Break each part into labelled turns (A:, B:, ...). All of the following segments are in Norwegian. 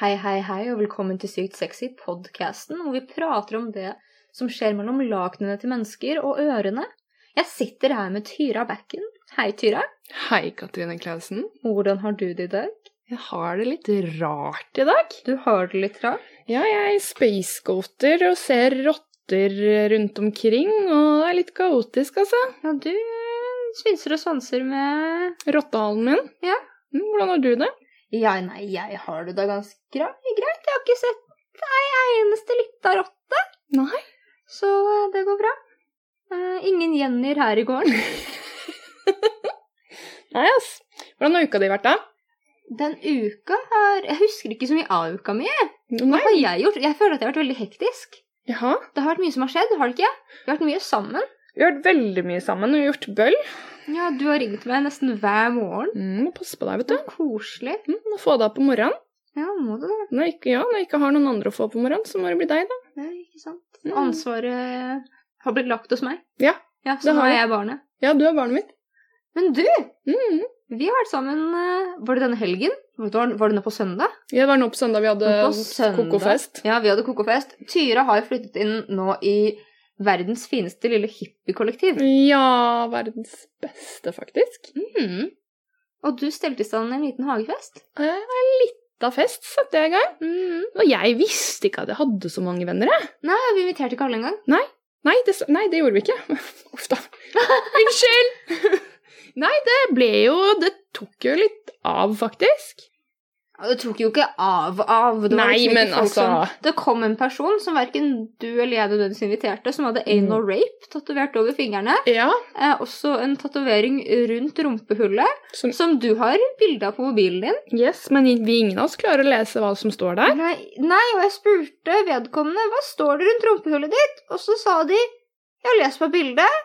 A: Hei, hei, hei, og velkommen til Sykt sexy, podkasten hvor vi prater om det som skjer mellom lakenene til mennesker og ørene. Jeg sitter her med Tyra Bekken. Hei, Tyra.
B: Hei, Katrine Klausen.
A: Hvordan har du det i dag?
B: Jeg har det litt rart i dag.
A: Du har det litt rart?
B: Ja, jeg spacegoater og ser rotter rundt omkring, og det er litt kaotisk, altså.
A: Ja, du eh, synser og sanser med
B: Rottehalen min.
A: Ja.
B: Mm, Hvordan har du det?
A: Ja, nei, jeg har det da ganske gra- greit. Jeg har ikke sett ei eneste lita rotte,
B: Nei.
A: så eh, det går bra. Eh, ingen Jennyer her i gården.
B: Nei, ass. Hvordan har uka di vært, da?
A: Den uka her Jeg husker ikke så mye av uka mi. jeg. Hva
B: Nei.
A: har jeg gjort? Jeg føler at jeg har vært veldig hektisk.
B: Jaha.
A: Det har vært mye som har skjedd, har det ikke? Vi har vært mye sammen.
B: Vi har vært veldig mye sammen og gjort bøll.
A: Ja, du har ringt meg nesten hver morgen.
B: Mm, må passe på deg, vet
A: Det
B: du.
A: er koselig.
B: Mm, må få deg på morgenen.
A: Ja, må du det?
B: Når jeg, ikke, ja, når jeg ikke har noen andre å få på morgenen, så må det bli deg, da.
A: Ja, ikke sant?
B: Mm.
A: Ansvaret har blitt lagt hos meg.
B: Ja,
A: Ja,
B: det
A: så nå
B: har
A: er
B: det.
A: jeg barnet.
B: Ja, du er barnet mitt.
A: Men du,
B: Mm.
A: vi har vært sammen eh, Var det denne helgen? Var var det nå på søndag?
B: Ja, det var nå på søndag vi hadde
A: På søndag.
B: kokofest.
A: Ja, vi hadde kokofest. Tyra har jo flyttet inn nå i verdens fineste lille hippiekollektiv.
B: Ja, verdens beste, faktisk.
A: Mm. Og du stelte i stand en liten hagefest.
B: Eh, En lita fest satte jeg i gang. Og jeg visste ikke at jeg hadde så mange venner. Jeg.
A: Nei, vi inviterte ikke alle engang.
B: Nei det, s- nei, det gjorde vi ikke. Uff da. Unnskyld! nei, det ble jo Det tok jo litt av, faktisk.
A: Ja, Det tok jo ikke av av. Det var
B: Nei,
A: liksom ikke
B: men
A: folk
B: altså
A: Som, det kom en person som verken du eller jeg nødvendigvis inviterte, som hadde anal
B: Mm.
A: rape tatovert over fingrene.
B: Ja,
A: Eh, også en tatovering rundt rumpehullet,
B: som,
A: som du har bilde av på mobilen din.
B: yes, men vi ingen av oss klarer å lese hva som står der.
A: Nei, nei, og jeg spurte vedkommende hva står det rundt rumpehullet ditt, og så sa de jeg har lest på bildet.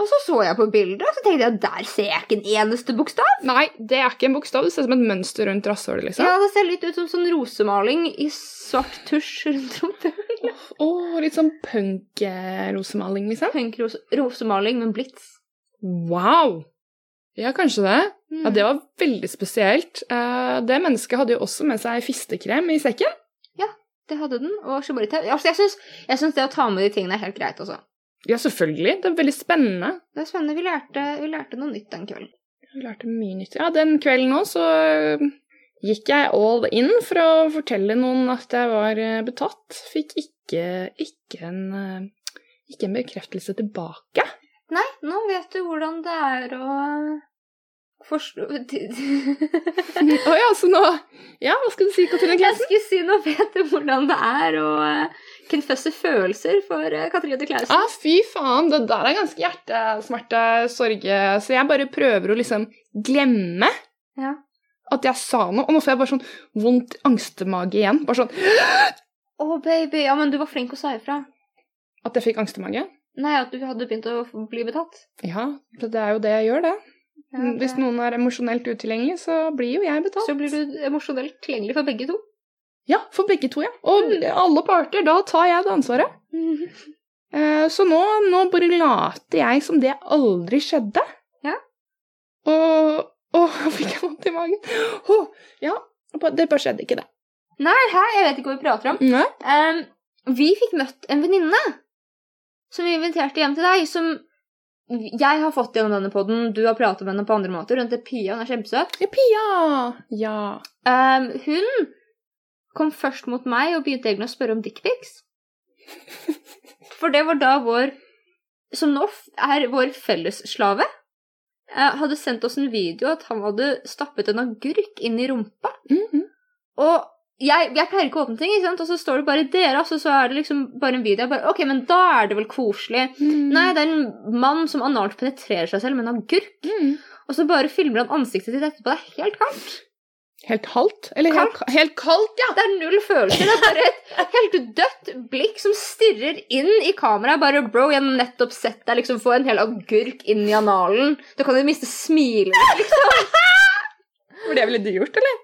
A: Og så så jeg på bildet, og så tenkte jeg der ser jeg ikke en eneste bokstav.
B: Nei, det er ikke en bokstav. Det ser ut som et mønster rundt rasshølet, liksom.
A: Ja, Det ser litt ut som sånn rosemaling i svart tusj rundt rumpehullet.
B: Åh, litt sånn punk-rosemaling, liksom.
A: Punkrose- rosemaling, men blits.
B: Wow! Ja, kanskje det.
A: Mm.
B: Ja, det var veldig spesielt. Eh, Det mennesket hadde jo også med seg fistekrem i sekken.
A: Det hadde den. Og skjebonitau. Altså, jeg syns- jeg syns det å ta med de tingene er helt greit, altså.
B: Ja, selvfølgelig. Det er veldig spennende.
A: Det er spennende. Vi lærte, vi lærte noe nytt den kvelden.
B: Jeg lærte mye nytt. Ja, den kvelden òg så eh, gikk jeg all in for å fortelle noen at jeg var eh, betatt. Fikk ikke, ikke, en, eh, ikke en bekreftelse tilbake.
A: Nei, nå vet du hvordan det er å forstå
B: Å ja, så nå Ja, hva skal du si, Katrine
A: Jeg
B: Klausen?
A: skulle si nå vet du hvordan det er å eh, confesse følelser for eh, Katrine Klausen.
B: Ah, fy faen, det der er ganske hjertesmerte, sorge Så jeg bare prøver å liksom glemme
A: Ja.
B: at jeg sa noe. Og nå får jeg bare sånn vondt angstemage igjen. Bare sånn
A: Å, baby. Ja, men du var flink å si ifra.
B: at jeg fikk angstemage.
A: Nei, at du hadde begynt å bli betatt.
B: Ja, det er jo det jeg gjør, det.
A: Ja, det-
B: Mm, Hvis noen er emosjonelt utilgjengelig, så blir jo jeg betalt.
A: Så blir du emosjonelt tilgjengelig for begge to.
B: Ja, for begge to, ja. Og
A: Mm.
B: alle parter. Da tar jeg det ansvaret. Eh, så nå, nå bare later jeg som det aldri skjedde.
A: Ja.
B: Og Åh, fikk jeg vondt i magen. Åh, ja, det bare skjedde ikke, det.
A: Nei, hæ? Jeg vet ikke hva vi prater om.
B: Nei.
A: Ehm, vi fikk møtt en venninne som vi inviterte hjem til deg, som jeg har fått gjennom denne podden, du har pratet med henne på andre måter, hun heter Pia, hun er kjempesøt.
B: Ja, Pia! Ja.
A: Ehm, hun kom først mot meg og begynte egentlig å spørre om dickpics. For det var da vår, som nå f- er vår fellesslave, eh, hadde sendt oss en video at han hadde stappet en agurk inn i rumpa.
B: Mhm.
A: Og jeg, jeg pleier ikke å åpne ting, ikke sant? og så står det bare 'dere', og så er det liksom bare en video. Jeg bare, ok, men da er det vel koselig.
B: Mm.
A: Nei, det er en mann som analt penetrerer seg selv med en agurk,
B: Mm.
A: og så bare filmer han ansiktet sitt etterpå. Det er helt kaldt.
B: Helt halvt? Eller helt- helt kaldt, ja!
A: Det er null følelser. Det er bare et helt dødt blikk som stirrer inn i kameraet. Bare 'bro, jeg har nettopp sett deg liksom få en hel agurk inn i analen'. Du kan jo miste smilet.
B: Var det veldig dyrt, eller?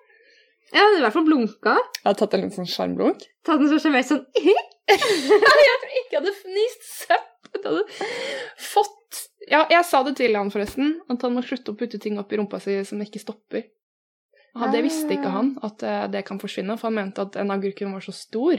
A: Ja, i hvert fall blunka.
B: Jeg har tatt en litt sånn sjarmblunk.
A: Tatt den så sjarmert sånn
B: ikke hadde fnist søpp. at jeg hadde fått Ja, jeg sa det til han forresten, at han må slutte å putte ting opp i rumpa si som ikke stopper. Ja, det visste
A: Ah.
B: ikke han, at eh, det kan forsvinne, for han mente at den agurken var så stor,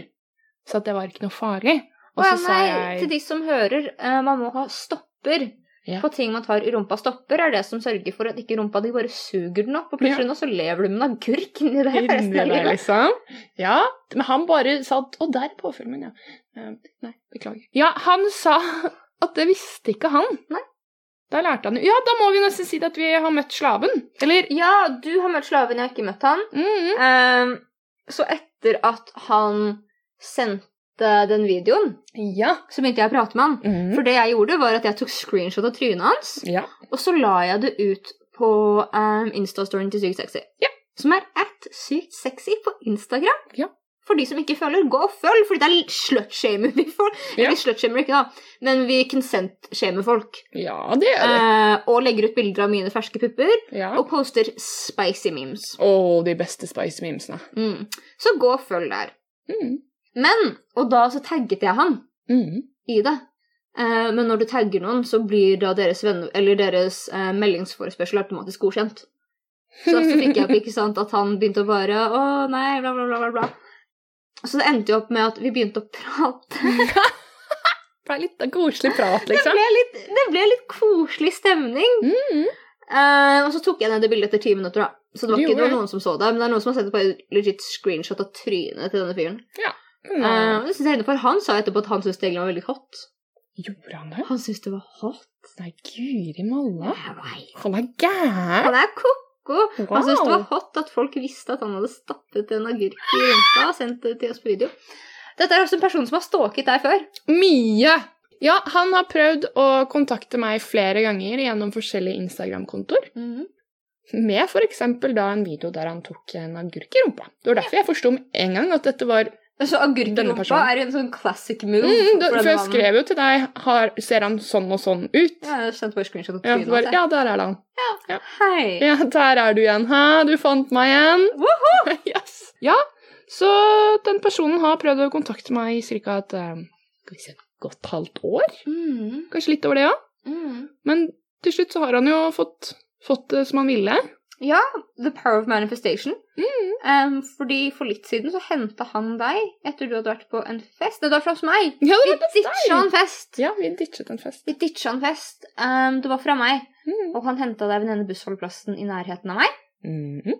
B: så at det var ikke noe farlig.
A: Å
B: Og
A: ja,
B: så sa
A: nei, til
B: jeg
A: de som hører, eh, man må ha stopper.
B: Ja.
A: På ting man tar i rumpa. Stopper er det som sørger for at ikke rumpa di bare suger den opp, og plutselig nå så lever du med en agurk inni deg for resten
B: Inni
A: av
B: der,
A: livet.
B: liksom. Ja, men han bare sa at Å, der er påfilmen, ja. Eh, nei, beklager. Ja, han sa at det visste ikke han.
A: Nei.
B: Da lærte han jo Ja, da må vi nesten si det at vi har møtt slaven. Eller
A: Ja, du har møtt slaven, jeg har ikke møtt han.
B: mm,
A: Ehm, så etter at han sendte den videoen,
B: Ja.
A: så begynte jeg å prate med han.
B: Mm.
A: For det jeg gjorde, var at jeg tok screenshot av trynet hans,
B: Ja.
A: og så la jeg det ut på ehm, Insta-storyen til Sykt sexy.
B: Ja.
A: Som er at sykt sexy på Instagram.
B: Ja.
A: For de som ikke følger, gå og følg, fordi det er slutshamer vi får.
B: Ja.
A: Eller slutshamer ikke, da, men vi consent-shamer folk.
B: ja, det er det.
A: Eh, og legger ut bilder av mine ferske pupper,
B: Ja.
A: og poster spicy memes.
B: Å, de beste Spice Memesene.
A: Mm. Så gå og følg der.
B: Mm.
A: Men, og da så tagget jeg han
B: Mm.
A: i det. Eh, men når du tagger noen, så blir da deres, venn- eller deres eh, meldingsforespørsel automatisk godkjent. Så så fikk jeg opp ikke sant, at han begynte å bare Å, nei, bla, bla, bla, bla, bla. Så det endte jo opp med at vi begynte å prate.
B: Det er litt koselig prat,
A: Det
B: liksom.
A: ble litt, det ble litt koselig stemning.
B: Mm.
A: Eh, og så tok jeg ned det bildet etter ti minutter, da. Så det var
B: Du
A: ikke det var
B: gjorde det.
A: noen som så det. Men det er noen som har sett et par legit screenshot av trynet til denne fyren. Eh,
B: Mm.
A: og det synes jeg er innenfor. Han sa etterpå at han syntes det egentlig var veldig hot.
B: Gjorde han det?
A: Han syntes det var hot.
B: Nei, guri malla.
A: Jeg vet.
B: Han er gæren.
A: Han er ko-ko. Han syntes det var
B: Wow.
A: hot at folk visste at han hadde stappet en agurk i rumpa og sendt det til oss på video. Dette er også en person som har stalket deg før.
B: Mye! Ja, han har prøvd å kontakte meg flere ganger gjennom forskjellige Instagram-kontoer. Med f.eks. da en video der han tok en agurk i rumpa. Det var derfor jeg forsto med en gang at dette var
A: Så agurk i
B: Denne
A: rumpa
B: personen.
A: er en sånn classic move.
B: mm, da,
A: for denne
B: For jeg
A: mannen.
B: skrev jo til deg har, Ser han sånn og sånn ut?
A: Ja, jeg sendte bare screenshot av
B: Ja,
A: trynet
B: så bare,
A: hans, jeg.
B: ja der er han.
A: Hei.
B: Ja, der er du igjen. Hæ, du fant meg igjen. yes. Ja, så den personen har prøvd å kontakte meg i cirka et eh, skal vi si, et godt halvt år.
A: Mm,
B: Kanskje litt over det, ja.
A: mm.
B: Men til slutt så har han jo fått, fått det som han ville.
A: Ja, the power of manifestation.
B: Mm.
A: Um, fordi For litt siden så henta han deg etter du hadde vært på en fest. Nei, du har vært hos meg!
B: Ja,
A: Vi
B: det var
A: ditcha en fest!
B: ja, vi ditchet en fest.
A: Vi ditcha en fest. Um, det var fra meg.
B: Mm.
A: Og han henta deg ved denne bussholdeplassen i nærheten av meg.
B: Mhm.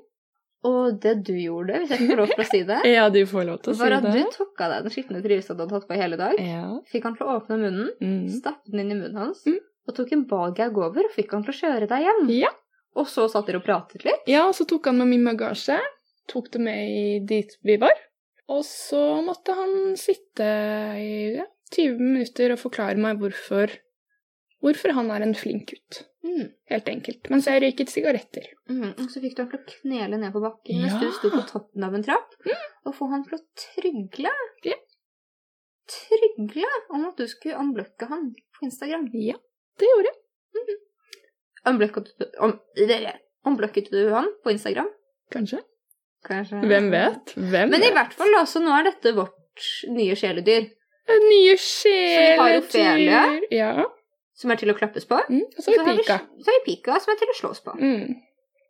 A: Og det du gjorde, hvis jeg får lov til å si det,
B: Ja, du får lov til å si
A: var at du
B: det.
A: tok av deg den skitne trusa du hadde hatt på i hele dag,
B: Ja.
A: fikk han til å åpne munnen,
B: Mm.
A: stappet den inn i munnen hans,
B: Mm.
A: og tok en baggag over og fikk han til å kjøre deg hjem.
B: Ja.
A: Og så satt dere og pratet litt.
B: ja, så tok han med min bagasje. Tok det med i dit vi var. Og så måtte han sitte i ja, 20 minutter og forklare meg hvorfor, hvorfor han er en flink gutt.
A: Mm.
B: Helt enkelt. Mens jeg røyket sigaretter.
A: Mm. Og så fikk du han til å knele ned på bakken
B: Ja. Mm.
A: mens du sto på toppen av en trapp, og få han til å trygle.
B: Ja.
A: Trygle om at du skulle unblocke han på Instagram.
B: Ja, det gjorde jeg.
A: Unblocket du, un, unblocket du han på Instagram?
B: Kanskje.
A: Kanskje.
B: Hvem vet? Hvem
A: Men i
B: vet?
A: hvert fall, da, så nå er dette vårt nye sjeledyr.
B: Nye
A: vi har Ophelia.
B: sjeledyr. Ja.
A: Som er til å klappes på.
B: Mm. Og så har vi
A: har vi-
B: Pika.
A: Så har vi pika, som er til å slås på.
B: Mm.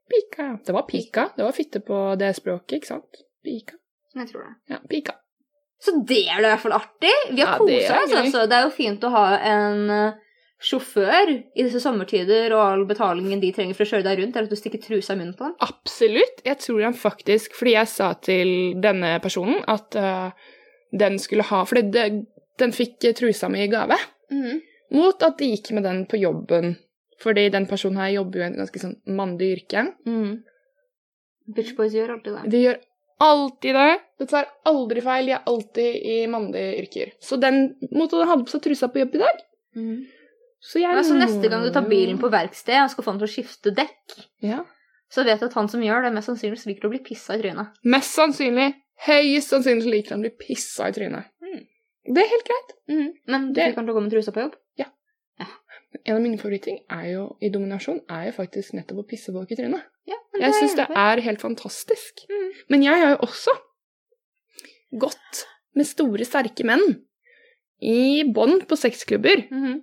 B: Pika. Det var pika. Det var fitte på det språket, ikke sant? Pika.
A: Jeg tror det.
B: Ja, pika.
A: Så det er da i hvert fall artig. Vi har
B: Ja, det er
A: kosa oss,
B: gøy.
A: altså. Det er jo fint å ha en eh, sjåfør i disse sommertider, og all betalingen de trenger for å kjøre deg rundt, er at du stikker trusa i munnen på den.
B: Absolutt. Jeg tror han faktisk Fordi jeg sa til denne personen at eh, den skulle ha Fordi det, den fikk eh, trusa mi i gave. Mm-hmm. Mot at de gikk med den på jobben. Fordi den personen her jobber jo i en ganske sånn mandig yrke.
A: Mm. Bitch boys gjør alltid det.
B: De gjør alltid det. Det tar aldri feil. De er alltid i mandige yrker. Så den måtte den hadde på seg trusa på jobb i dag.
A: Mm.
B: Mm-hmm. Så jeg
A: Men altså, neste gang du tar bilen på verksted og skal få han til å skifte dekk,
B: Ja.
A: så vet du at han som gjør det, mest sannsynlig liker å bli pissa i trynet.
B: Mest sannsynlig, høyest sannsynlig, liker han å bli pissa i trynet.
A: Hmm.
B: Det er helt greit.
A: Men du
B: Det-
A: fikk han til å gå med trusa på jobb?
B: En av mine favoritting er jo, i dominasjon er jo faktisk nettopp å pisse folk i trynet.
A: Ja, men
B: Jeg
A: er
B: syns det
A: innenfor.
B: er helt fantastisk.
A: Mm.
B: Men jeg har jo også gått med store, sterke menn i bånd på sexklubber
A: Mhm.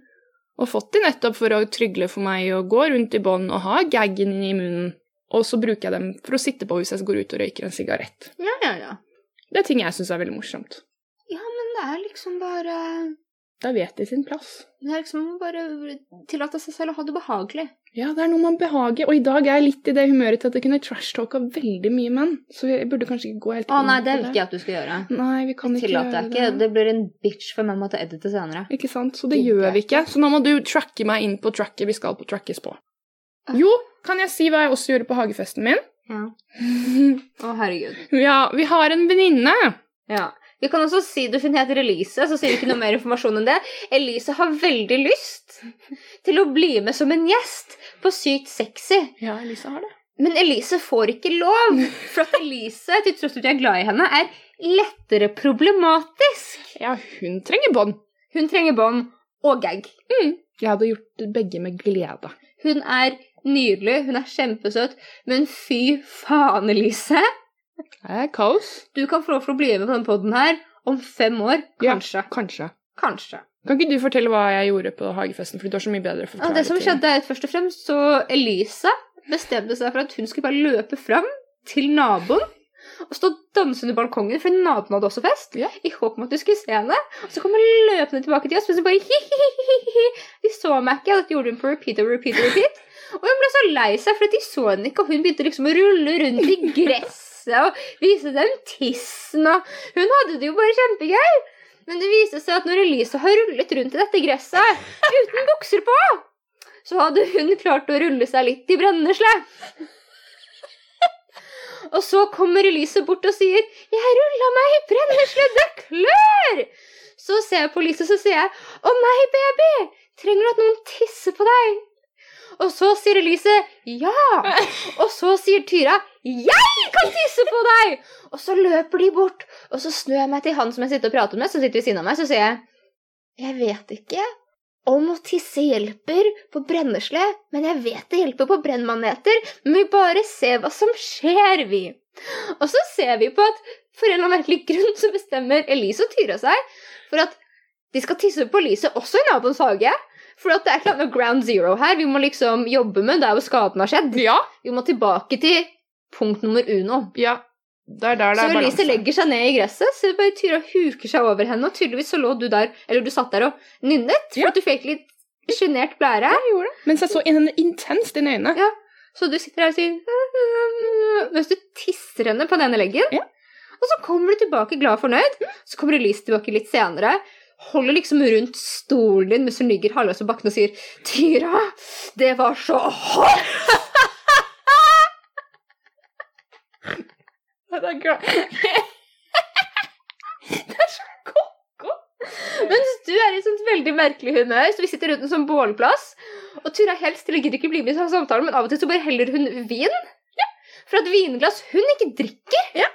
B: og fått de nettopp for å trygle for meg og gå rundt i bånd og ha gaggen i munnen. Og så bruker jeg dem for å sitte på hvis jeg går ut og røyker en sigarett.
A: Ja, ja, ja.
B: Det er ting jeg syns er veldig morsomt.
A: Men det er liksom bare
B: Da vet de sin plass.
A: Det er liksom bare tillate seg selv å ha det behagelig.
B: Ja, det er noe man behager. Og i dag er jeg litt i det humøret til at jeg kunne trashtalka veldig mye menn. Så jeg burde kanskje ikke gå helt
A: Å
B: inn
A: nei,
B: på
A: det vil ikke jeg at du skal gjøre.
B: Nei, vi kan ikke
A: Tillater jeg ikke.
B: gjøre det.
A: Det blir en bitch for meg å måtte edite senere.
B: Ikke sant? Så det
A: Gidder
B: gjør
A: jeg
B: vi ikke. Så nå må du tracke meg inn på tracket vi skal på trackes på. Jo, kan jeg si hva jeg også gjorde på hagefesten min?
A: Ja. Å, herregud.
B: ja, vi har en venninne.
A: Ja. Vi kan også si du finner heter Elise, så sier vi ikke noe mer informasjon enn det. Elise har veldig lyst til å bli med som en gjest på Sykt sexy.
B: Ja, Elisa har det.
A: Men Elise får ikke lov, for at Elise, til tross for at jeg er glad i henne, er lettere problematisk.
B: Ja, hun trenger bånd.
A: Hun trenger bånd og gag.
B: Jeg hadde gjort begge med glede.
A: Hun er nydelig, hun er kjempesøt, men fy faen, Elise.
B: Det er kaos.
A: Du kan få lov til å bli med på denne podden her om fem år.
B: Ja.
A: Kanskje.
B: Kanskje.
A: Kanskje.
B: Kan ikke du fortelle hva jeg gjorde på hagefesten, fordi du har så mye bedre å
A: Ja,
B: forklare
A: det som
B: ting.
A: skjedde er at først og fremst så Elisa bestemte seg for at hun skulle bare løpe fram til naboen og stå og danse under balkongen, for naboen hadde også fest,
B: Ja.
A: i håp om at du skulle se henne. Og så kom hun løpende tilbake til oss, men så bare hi-hi-hi-hi-hi. De så meg ikke, og dette gjorde hun på repeat og repeat og repeat. Og hun ble så lei seg for at de så henne ikke, og hun begynte liksom å rulle rundt i gresset og vise dem tissen, og hun hadde det jo bare kjempegøy. Men det viste seg at når Elise har rullet rundt i dette gresset uten bukser på, så hadde hun klart å rulle seg litt i brennesle. Og så kommer Elise bort og sier 'Jeg rulla meg i brennesle, det klør!' Så ser jeg på Elise, så sier jeg 'Å nei, baby, trenger du at noen tisser på deg?' Og så sier Elise 'ja'. Og så sier Tyra 'jeg kan tisse på deg'! Og så løper de bort, og så snur jeg meg til han som jeg sitter og prater med, som sitter ved siden av meg, så sier jeg 'jeg vet ikke'. Om å tisse hjelper på brennesle, men jeg vet det hjelper på brennmaneter, men vi bare ser hva som skjer, vi. Og så ser vi på at for en eller annen merkelig grunn så bestemmer Elise og Tyra seg for at de skal tisse på Elise også i naboens hage. For at det er et eller annet ground zero her. Vi må liksom jobbe med der hvor skaden har skjedd.
B: Ja,
A: Vi må tilbake til punkt nummer uno.
B: ja. Det er der det
A: Så
B: er
A: Elise
B: balanse.
A: legger seg ned i gresset, så bare Tyra huker seg over henne, og tydeligvis så lå du der, eller du satt der og nynnet, for
B: Ja.
A: at du fikk litt sjenert blære.
B: Jeg gjorde det. Mens jeg så henne intenst inn i øynene.
A: Ja. Så du sitter her og sier Mens du tisser henne på denne leggen.
B: Ja.
A: Og så kommer du tilbake glad og fornøyd. Så kommer Elise tilbake litt senere. Holder liksom rundt stolen din mens hun ligger halvveis på bakken og sier 'Tyra, det var så hot!'
B: Det er glad.
A: Mens du er i et sånt veldig merkelig humør, så vi sitter rundt en sånn bålplass. Og Tyra helst eller gidder ikke bli med i samtalen, men av og til så bare heller hun vin. Fra et vinglass hun ikke drikker.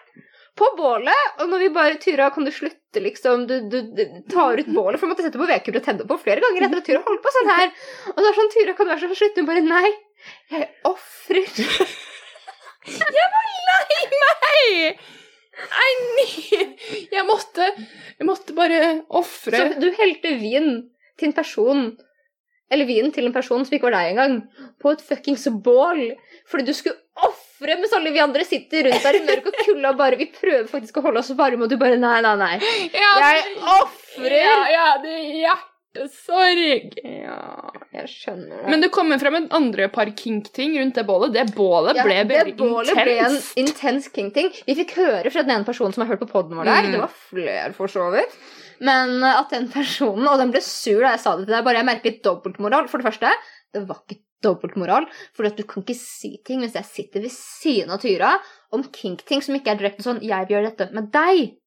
A: På bålet. Og når vi bare Tyra, kan du slutte, liksom? Du, du, du tar ut bålet. For jeg måtte sette på vedkubber og tenne på flere ganger etter at Tyra holdt på sånn her. Og det er sånn Tyra, kan du være så snill å slutte? Hun bare nei. Jeg ofrer.
B: Nei! Nei, nei! Jeg måtte, jeg måtte bare ofre
A: Så du helte vin til en person, eller vin til en person som ikke var deg engang, på et fuckings bål fordi du skulle ofre mens alle vi andre sitter rundt der i mørket og kulda og bare Vi prøver faktisk å holde oss varme, og du bare Nei, nei, nei.
B: ja,
A: Jeg ofrer!
B: Ja, ja, det er hjertesorg. Ja.
A: Jeg skjønner det.
B: Men det kommer frem en andre par kink-ting rundt det bålet. Det bålet
A: Ja,
B: ble veldig
A: det bålet ble en
B: intenst.
A: intens king-ting. Vi fikk høre fra den ene personen som har hørt på podden vår der.
B: Mm.
A: Det var flere, for så vidt. Men eh, at den personen Og den ble sur da jeg sa det til deg, bare jeg merket litt dobbeltmoral. For det første, det var ikke dobbeltmoral, for at du kan ikke si ting mens jeg sitter ved siden av Tyra om kink-ting som ikke er direkte sånn 'Jeg vil gjøre dette med deg',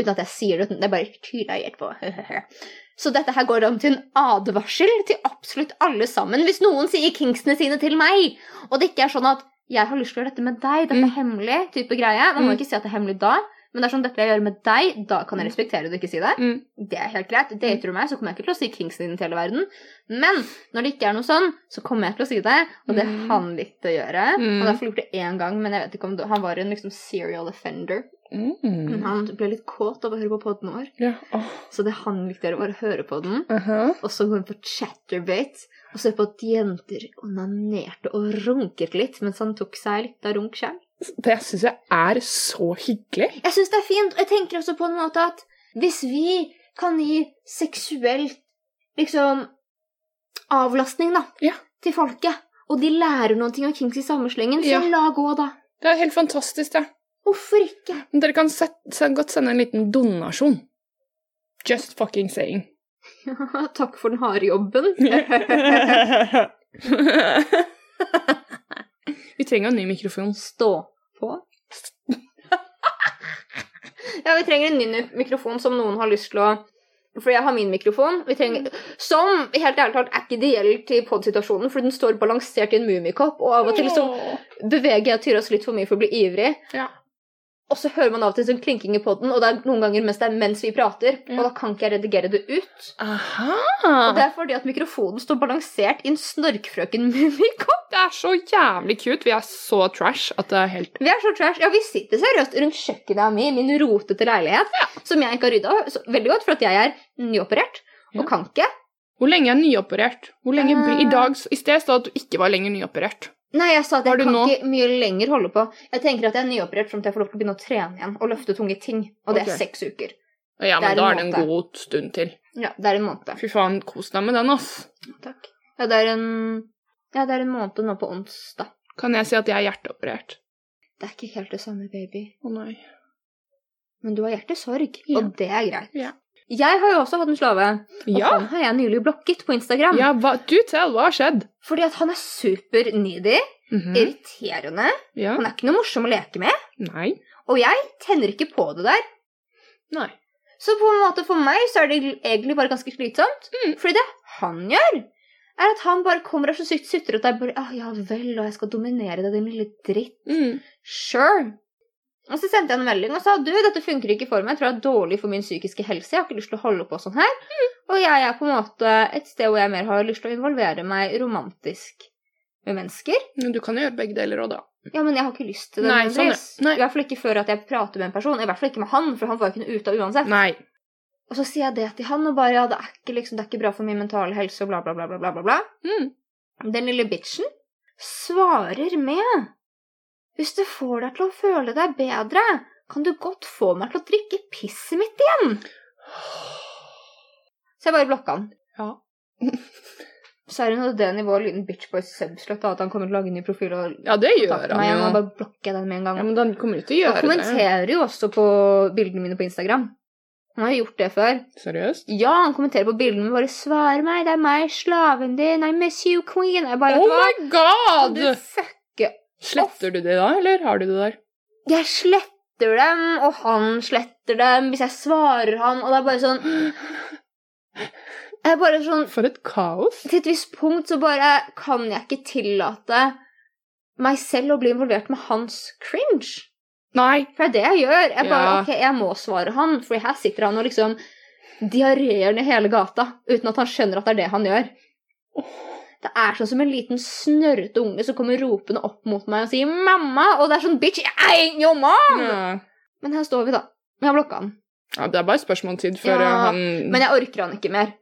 A: uten at jeg sier det. uten- Det er bare Tyra gjør på. Så dette her går om til en advarsel til absolutt alle sammen. Hvis noen sier kinksene sine til meg, og det ikke er sånn at 'jeg har lyst til å gjøre dette med deg', dette er
B: Mm.
A: hemmelig type greie Man må
B: Mm.
A: ikke si at det er hemmelig da, men det er sånn 'dette vil jeg gjøre med deg', da kan jeg respektere det og ikke si det.
B: Mm.
A: Det er helt greit. Dater du meg, så kommer jeg ikke til å si kinksene dine til hele verden. Men når det ikke er noe sånn, så kommer jeg til å si det, og det
B: Mm.
A: han likte å gjøre.
B: Mm.
A: Og derfor gjorde det én gang, men jeg vet ikke om det, han var en liksom serial offender. Men
B: Mhm.
A: han ble litt kåt av å høre på podden vår,
B: Mm. Ja. Åh.
A: så det han likte å gjøre, var å høre på den.
B: aha.
A: Og så går han på chatterbate og ser på at jenter onanerte og runket litt mens han tok seg litt av runk sjøl.
B: Det syns jeg er så hyggelig.
A: Jeg syns det er fint, og jeg tenker også på en måte at hvis vi kan gi seksuelt liksom avlastning, da,
B: Ja.
A: til folket, og de lærer noen ting av Kings i samme slengen, så
B: Ja.
A: la gå, da.
B: Det er helt fantastisk, det.
A: Hvorfor ikke?
B: Men Dere kan set, se- godt sende en liten donasjon. Just fucking saying.
A: Takk for den harde jobben.
B: Vi trenger jo en ny mikrofon.
A: Stå på. ja, vi trenger en ny mikrofon som noen har lyst til å For jeg har min mikrofon. Vi trenger,
B: Mm.
A: som helt ærlig talt er ikke ideell til podsituasjonen, for den står balansert i en mummikopp, og av og til så beveger jeg Tyras litt for mye for å bli ivrig.
B: Ja.
A: Og så hører man av og til sånn klinking i podden, og det er noen ganger mens det er mens vi prater,
B: Ja.
A: og da kan ikke jeg redigere det ut. Og
B: Aha!
A: det er fordi at mikrofonen står balansert i en snorkfrøken mummikopp.
B: Det er så jævlig cute. Vi er så trash at det er helt
A: Vi er så trash. Ja, vi sitter seriøst rundt kjøkkenet mi, min rotete leilighet, som jeg ikke har rydda så- veldig godt, for at jeg er nyoperert og
B: Ja.
A: kan ikke.
B: Hvor lenge er nyoperert? Hvor lenge blir I dag, i sted stod det at du ikke var lenger nyoperert.
A: Nei, jeg sa at
B: Har
A: jeg
B: du
A: kan
B: nå-
A: ikke mye lenger holde på. Jeg tenker at jeg er nyoperert frem til jeg får lov til å begynne å trene igjen og løfte tunge ting. Og det
B: Ok.
A: er seks uker.
B: Ja,
A: Det er
B: men
A: en
B: da er det en
A: måte.
B: god stund til.
A: Ja, det er en måned.
B: Fy faen, kos deg med den, ass.
A: Takk. Ja, det er en, ja, det er en måned nå på onsdag.
B: Kan jeg si at jeg er hjerteoperert?
A: Det er ikke helt det samme, baby.
B: Å nei.
A: Men du har hjertesorg,
B: Ja.
A: og det er greit.
B: Ja.
A: Jeg har jo også hatt en slave, og
B: Ja,
A: han har jeg nylig blokket på Instagram.
B: ja hva, du tell, hva har skjedd?
A: Fordi at han er super needy,
B: Mhm.
A: irriterende,
B: Ja,
A: han er ikke noe morsom å leke med,
B: nei.
A: og jeg tenner ikke på det der.
B: Nei.
A: Så på en måte for meg så er det egentlig bare ganske slitsomt.
B: Mm.
A: Fordi det han gjør, er at han bare kommer og er så sykt sutrer at jeg bare ah, Ja vel, og jeg skal dominere deg, din lille dritt.
B: Mm.
A: Sure. Og så sendte jeg en melding og sa du, dette funker ikke for meg, jeg tror det er dårlig for min psykiske helse, jeg har ikke lyst til å holde på sånn her. Og jeg er på en måte et sted hvor jeg mer har lyst til å involvere meg romantisk med mennesker.
B: Men du kan jo gjøre begge deler òg, da.
A: Ja, men jeg har ikke lyst til det.
B: Nei, sånn, ja.
A: nødvendigvis.
B: Nei.
A: I hvert fall ikke før at jeg prater med en person, i hvert fall ikke med han, for han var jo ikke noe ute av uansett.
B: Nei.
A: Og så sier jeg det til han, og bare ja, det er ikke, liksom, det er ikke bra for min mentale helse, og bla, bla, bla, bla, bla, bla, bla.
B: Mm.
A: Den lille bitchen svarer med Hvis det får deg til å føle deg bedre, kan du godt få meg til å drikke pisset mitt igjen. Så jeg bare blokka han.
B: Ja.
A: Så er hun på det nivået liten bitch boy subslot, da, at han kommer til å lage en ny profil og
B: Ja, det gjør
A: kontakte
B: han
A: meg. Og
B: jo.
A: nå bare blokker jeg den med en gang.
B: Ja, men han kommer jo til å
A: Han
B: gjøre det.
A: kommenterer jo også på bildene mine på Instagram. Han har jo gjort det før.
B: Seriøst?
A: Ja, han kommenterer på bildene mine bare 'Svar meg, det er meg, slaven din, I miss you, queen'. Jeg bare,
B: Oh
A: vet du hva?
B: my god!
A: Du fucker
B: Sletter du det da, eller har du det der?
A: Jeg sletter dem, og han sletter dem hvis jeg svarer han, og det er bare sånn Jeg er bare sånn
B: For et kaos.
A: Til et visst punkt så bare kan jeg ikke tillate meg selv å bli involvert med hans cringe.
B: Nei.
A: For det er det jeg gjør. Jeg bare
B: Ja.
A: OK, jeg må svare han, for her sitter han og liksom diarerer ned hele gata uten at han skjønner at det er det han gjør. Det er sånn som en liten snørrete unge som kommer ropende opp mot meg og sier 'mamma', og det er sånn 'bitch, I ain't your mom'.
B: Ja.
A: Men her står vi, da. Jeg har blokka han.
B: Ja, det er bare spørsmålstid før
A: Ja,
B: eh, han
A: Men jeg orker han ikke mer.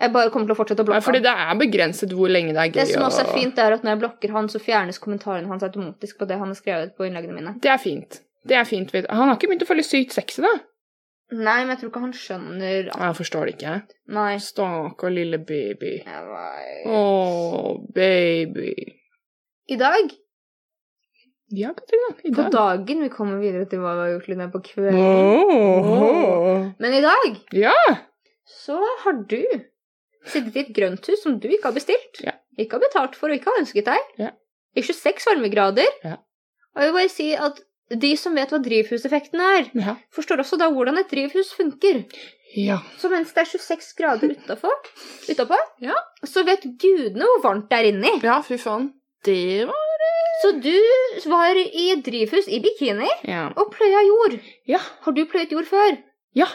A: Jeg bare kommer til å fortsette å
B: Nei,
A: blokke
B: Fordi
A: han.
B: det er begrenset hvor lenge det er gøy
A: Det som også er
B: å-
A: fint, det er at når jeg blokker han, så fjernes kommentarene hans automatisk på det han har skrevet på innleggene mine.
B: Det er fint. Det er fint. vet- Han har ikke begynt å føle sykt sexy, da.
A: Nei, men jeg tror ikke han skjønner at
B: Jeg forstår det ikke.
A: Nei.
B: Stakkar lille baby.
A: Jeg
B: Å,
A: var-
B: baby.
A: I dag,
B: Ja, Katrine. I
A: på
B: dag.
A: dagen Vi kommer videre til hva vi har gjort litt mer på kvelden.
B: Åh.
A: Men i dag
B: Ja.
A: så har du sittet i et grønthus som du ikke har bestilt.
B: Ja.
A: Ikke har betalt for og ikke har ønsket deg.
B: Ja.
A: I 26 varmegrader.
B: Ja.
A: Og jeg vil bare si at de som vet hva drivhuseffekten er,
B: Ja.
A: forstår også da hvordan et drivhus funker.
B: ja.
A: Så mens det er 26 grader utenfor, utapå,
B: Ja.
A: så vet gudene hvor varmt det er inni.
B: Ja, fy faen. Det var
A: Så du var i et drivhus i bikini
B: Ja.
A: og pløya jord.
B: Ja.
A: Har du pløyet jord før?
B: ja.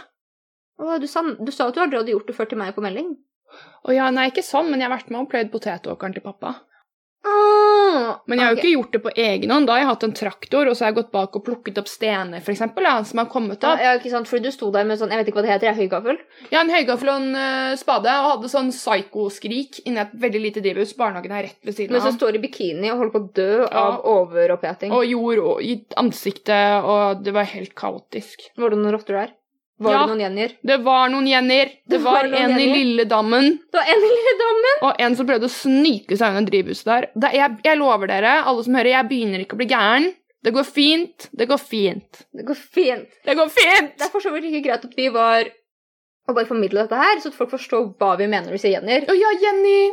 A: Å, du, sa, du sa at du aldri hadde gjort det før til meg på melding.
B: Å ja, nei, ikke sånn, men jeg har vært med og pløyd potetåkeren til pappa.
A: Å,
B: Men jeg har jo ikke gjort det på egen hånd. Da har jeg hatt en traktor, og så har jeg gått bak og plukket opp stener, for eksempel, da, som har kommet
A: ja,
B: opp.
A: ja, ikke sant, Fordi du sto der med sånn Jeg vet ikke hva det heter, jeg er høygaffel.
B: Jeg har en høygaffel og en eh, spade, og hadde sånn psyko-skrik inni et veldig lite drivhus. Barnehagen er rett ved siden
A: Men
B: av.
A: som står i bikini og holder på å dø
B: Ja.
A: av overoppheting.
B: Og jord og, i ansiktet, og det var helt kaotisk.
A: Var det noen rotter der? Var
B: Ja.
A: det noen genier?
B: Det var noen jenner. Det var,
A: noen
B: en i
A: jenner.
B: Lilledammen,
A: Det var en lille dame!
B: og en som prøvde å snike seg under drivhuset der. Det, jeg, jeg lover dere, alle som hører, jeg begynner ikke å bli gæren. Det går fint. Det går fint.
A: Det går fint.
B: Det går
A: Det
B: fint!
A: er for så vidt ikke greit at vi var og bare formidle dette her, så at folk forstår hva vi mener når vi sier jenner.
B: Å ja, Jenny!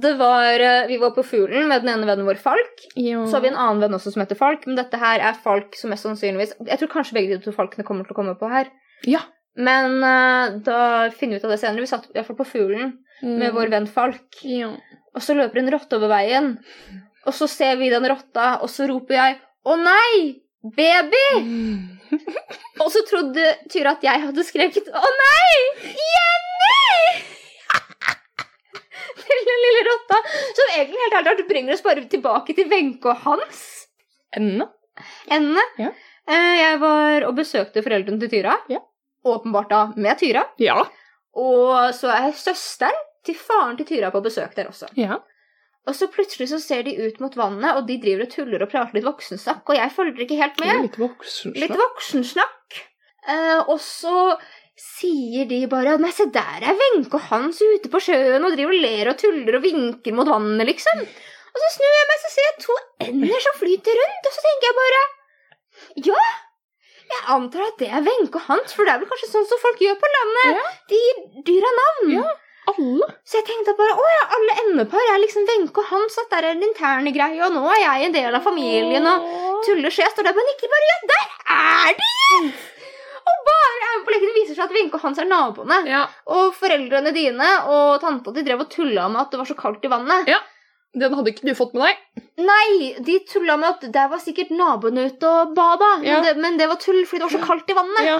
A: Det var, eh, Vi var på Fuglen med den ene vennen vår, Falk.
B: Ja.
A: Så har vi en annen venn også som heter Falk, men dette her er Falk som mest sannsynligvis Jeg tror kanskje begge de to Falkene kommer til å komme på her.
B: Ja.
A: Men eh, da finner vi ut av det senere. Vi satt i hvert fall på Fuglen
B: Mm.
A: med vår venn Falk.
B: Ja.
A: Og så løper en rotte over veien. Og så ser vi den rotta, og så roper jeg 'Å nei! Baby!'
B: Mm.
A: Og så trodde Tyra at jeg hadde skreket 'Å nei! Jenny!' til den lille rotta. Som egentlig helt ærlig talt bringer oss bare tilbake til Wenche og Hans.
B: Ennå.
A: Enne.
B: Ja.
A: Eh, Jeg var og besøkte foreldrene til Tyra.
B: Ja.
A: Åpenbart da med Tyra.
B: Ja.
A: Og så er søsteren til faren til Tyra på besøk der også.
B: Ja.
A: Og så plutselig så ser de ut mot vannet, og de driver og tuller og prater litt voksensnakk, og jeg følger ikke helt med.
B: Litt voksen.
A: Litt voksensnakk. Eh, og så sier de bare at nei, se der er Wenche og Hans ute på sjøen og driver og ler og tuller og vinker mot vannet, liksom. Og så snur jeg meg, så ser jeg to ender som flyter rundt, og så tenker jeg bare ja. Jeg antar at det er Wenche og Hans, for det er vel kanskje sånn som folk gjør på landet. De gir dyra navn.
B: Ja. Alle.
A: Så jeg tenkte bare å ja, alle endepar er liksom Wenche og Hans, at der er den interne greia, og nå er jeg en del av familien, og tuller, så jeg står der og nikker bare ja, der er de! Og bare er med på leken. Det viser seg at Wenche og Hans er naboene.
B: Ja.
A: Og foreldrene dine og tanta di drev og tulla med at det var så kaldt i vannet.
B: Den hadde ikke du fått med deg.
A: Nei, de tulla med at der var sikkert naboene ute og bada,
B: Ja.
A: men, det, men det var tull fordi det var så kaldt i vannet.
B: Ja.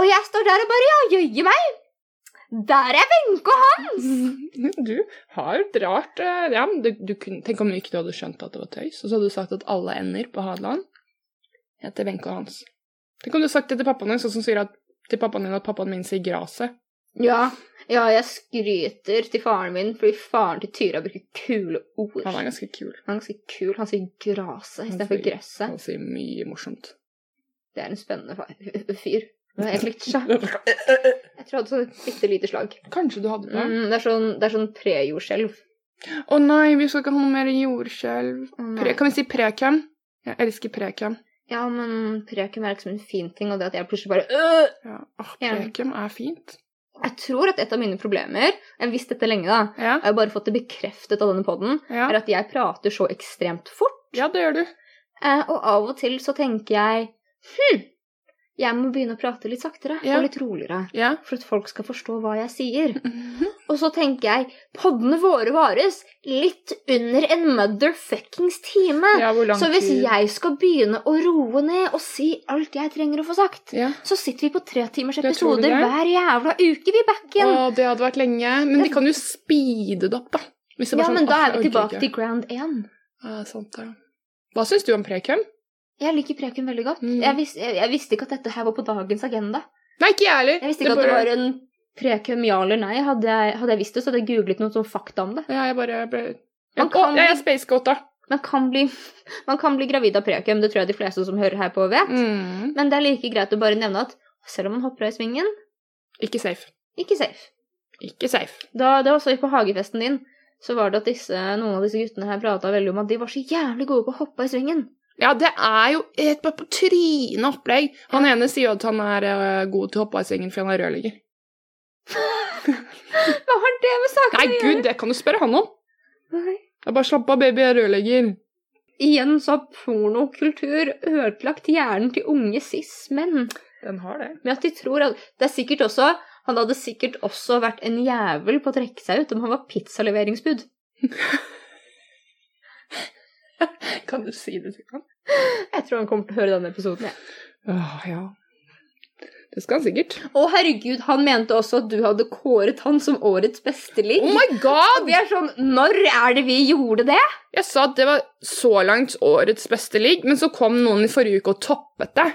A: Og jeg står der og bare ja, jøye meg! Der er Wenche og Hans!
B: Du har et rart eh, ja, men du, du kunne, Tenk om ikke du hadde skjønt at det var tøys, og så hadde du sagt at alle ender på Hadeland heter Wenche og Hans. Tenk om du hadde sagt det til pappaen din, sånn som sier at, til pappaen din at pappaen min sier graset.
A: Ja. ja, jeg skryter til faren min fordi faren til Tyra bruker kule ord.
B: Han er ganske kul.
A: Han er ganske kul. Han sier graset
B: Oh Han
A: istedenfor
B: sier-
A: gresset.
B: Han sier mye morsomt.
A: Det er en spennende fa- fyr. Det er helt likt seg. Jeg tror jeg hadde sånn et bitte lite slag.
B: Kanskje du hadde det.
A: Mm, det er sånn, det er sånn prejordskjelv.
B: Å nei, vi skal ikke ha noe mer jordskjelv.
A: Å, nei.
B: Pre, kan vi si prekam? Jeg elsker prekam.
A: Mm. Ja, men preken er liksom en fin ting, og det at jeg plutselig bare øh!
B: Ja. Åh,
A: Ja.
B: prekam er fint.
A: Jeg tror at et av mine problemer Jeg har visst dette lenge, da.
B: Ja,
A: Jeg har bare fått det bekreftet av denne poden.
B: ja.
A: Er at jeg prater så ekstremt fort.
B: ja det gjør du.
A: Eh, og av og til så tenker jeg Hm, jeg må begynne å prate litt saktere
B: Ja.
A: og litt roligere.
B: Ja.
A: For at folk skal forstå hva jeg sier. Og så tenker jeg, poddene våre vares litt under en motherfuckings time.
B: ja hvor lang
A: så hvis
B: tid-
A: jeg skal begynne å roe ned og si alt jeg trenger å få sagt,
B: ja.
A: så sitter vi på tre timers
B: Det tror du
A: episoder
B: det?
A: hver jævla uke, vi backen.
B: Å, det hadde vært lenge. Men de kan jo speede det opp, da. Hvis det
A: Ja,
B: bare sånn,
A: men da
B: «Åh,
A: er vi
B: jeg orker
A: tilbake
B: ikke».
A: til ground 1.
B: Ja, sant, ja. Hva syns du om prekum?
A: Jeg liker preken veldig godt.
B: Mm.
A: Jeg, vis jeg, jeg visste ikke at dette her var på dagens agenda.
B: Nei, ikke jeg heller.
A: Jeg visste ikke at det var en preken ja eller nei. Hadde jeg, hadde jeg visst det, så hadde jeg googlet noen sånn fakta om det.
B: Ja, jeg bare ble
A: Man
B: Å,
A: kan-
B: jeg er space goat, da.
A: Man kan bli, man kan bli gravid av preken, det tror jeg de fleste som hører her på vet.
B: Mm.
A: Men det er like greit å bare nevne at selv om man hopper av i svingen,
B: Ikke safe.
A: ikke safe.
B: Ikke safe.
A: Da det var så på hagefesten din, så var det at disse, noen av disse guttene her prata veldig om at de var så jævlig gode på å hoppe av i svingen.
B: Ja, det er jo et bare på trynet opplegg. Han ene sier jo at han er eh, god til å hoppe av sengen fordi han er rørlegger.
A: Hva har det med saken
B: Nei, gud, det kan du spørre han om.
A: Nei.
B: Jeg bare slapp av, baby, jeg er rørlegger.
A: Igjen så har pornokultur ødelagt hjernen til unge cis-menn.
B: Den har det.
A: Med at de tror at Det er sikkert også Han hadde sikkert også vært en jævel på å trekke seg ut om han var pizzaleveringsbud.
B: Kan du si det til han?
A: Jeg tror han kommer til å høre denne episoden. jeg.
B: Åh, ja. Det skal han sikkert.
A: Å, herregud, han mente også at du hadde kåret han som årets beste ligg.
B: Oh my god!
A: Og vi er sånn Når er det vi gjorde det?
B: Jeg sa at det var så langt årets beste ligg, men så kom noen i forrige uke og toppet det.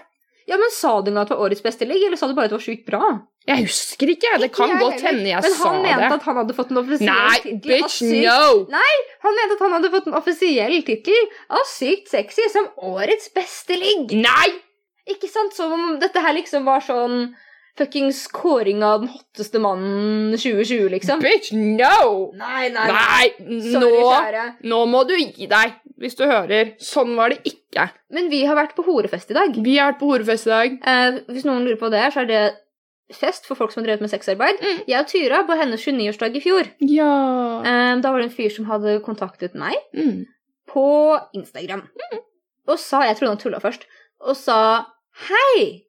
A: Ja, men Sa du nå at det var årets beste ligg, eller sa du bare at det var sjukt bra?
B: Jeg husker ikke, det
A: Ikke
B: kan
A: jeg
B: godt
A: heller.
B: hende jeg
A: men
B: sa
A: han mente
B: det.
A: at han hadde fått en offisiell
B: Nei,
A: tittel av
B: bitch,
A: sykt-
B: no!
A: Han mente at han hadde fått en offisiell tittel av Sykt sexy som årets beste ligg.
B: Nei!
A: Ikke sant? Som om dette her liksom var sånn fuckings kåring av den hotteste mannen 2020, liksom.
B: Bitch, no!
A: Nei, nei.
B: Nei,
A: Sorry,
B: nå,
A: kjære.
B: nå må du gi deg, hvis du hører. Sånn var det ikke.
A: Men vi har vært på horefest i dag.
B: Vi har vært på horefest i dag.
A: Eh, hvis noen lurer på det, så er det fest for folk som har drevet med sexarbeid.
B: Mm.
A: Jeg og Tyra på hennes 29-årsdag i fjor.
B: Ja.
A: Eh, da var det en fyr som hadde kontaktet meg
B: Mm.
A: på Instagram. Og sa Jeg trodde han tulla først. Og sa Hei!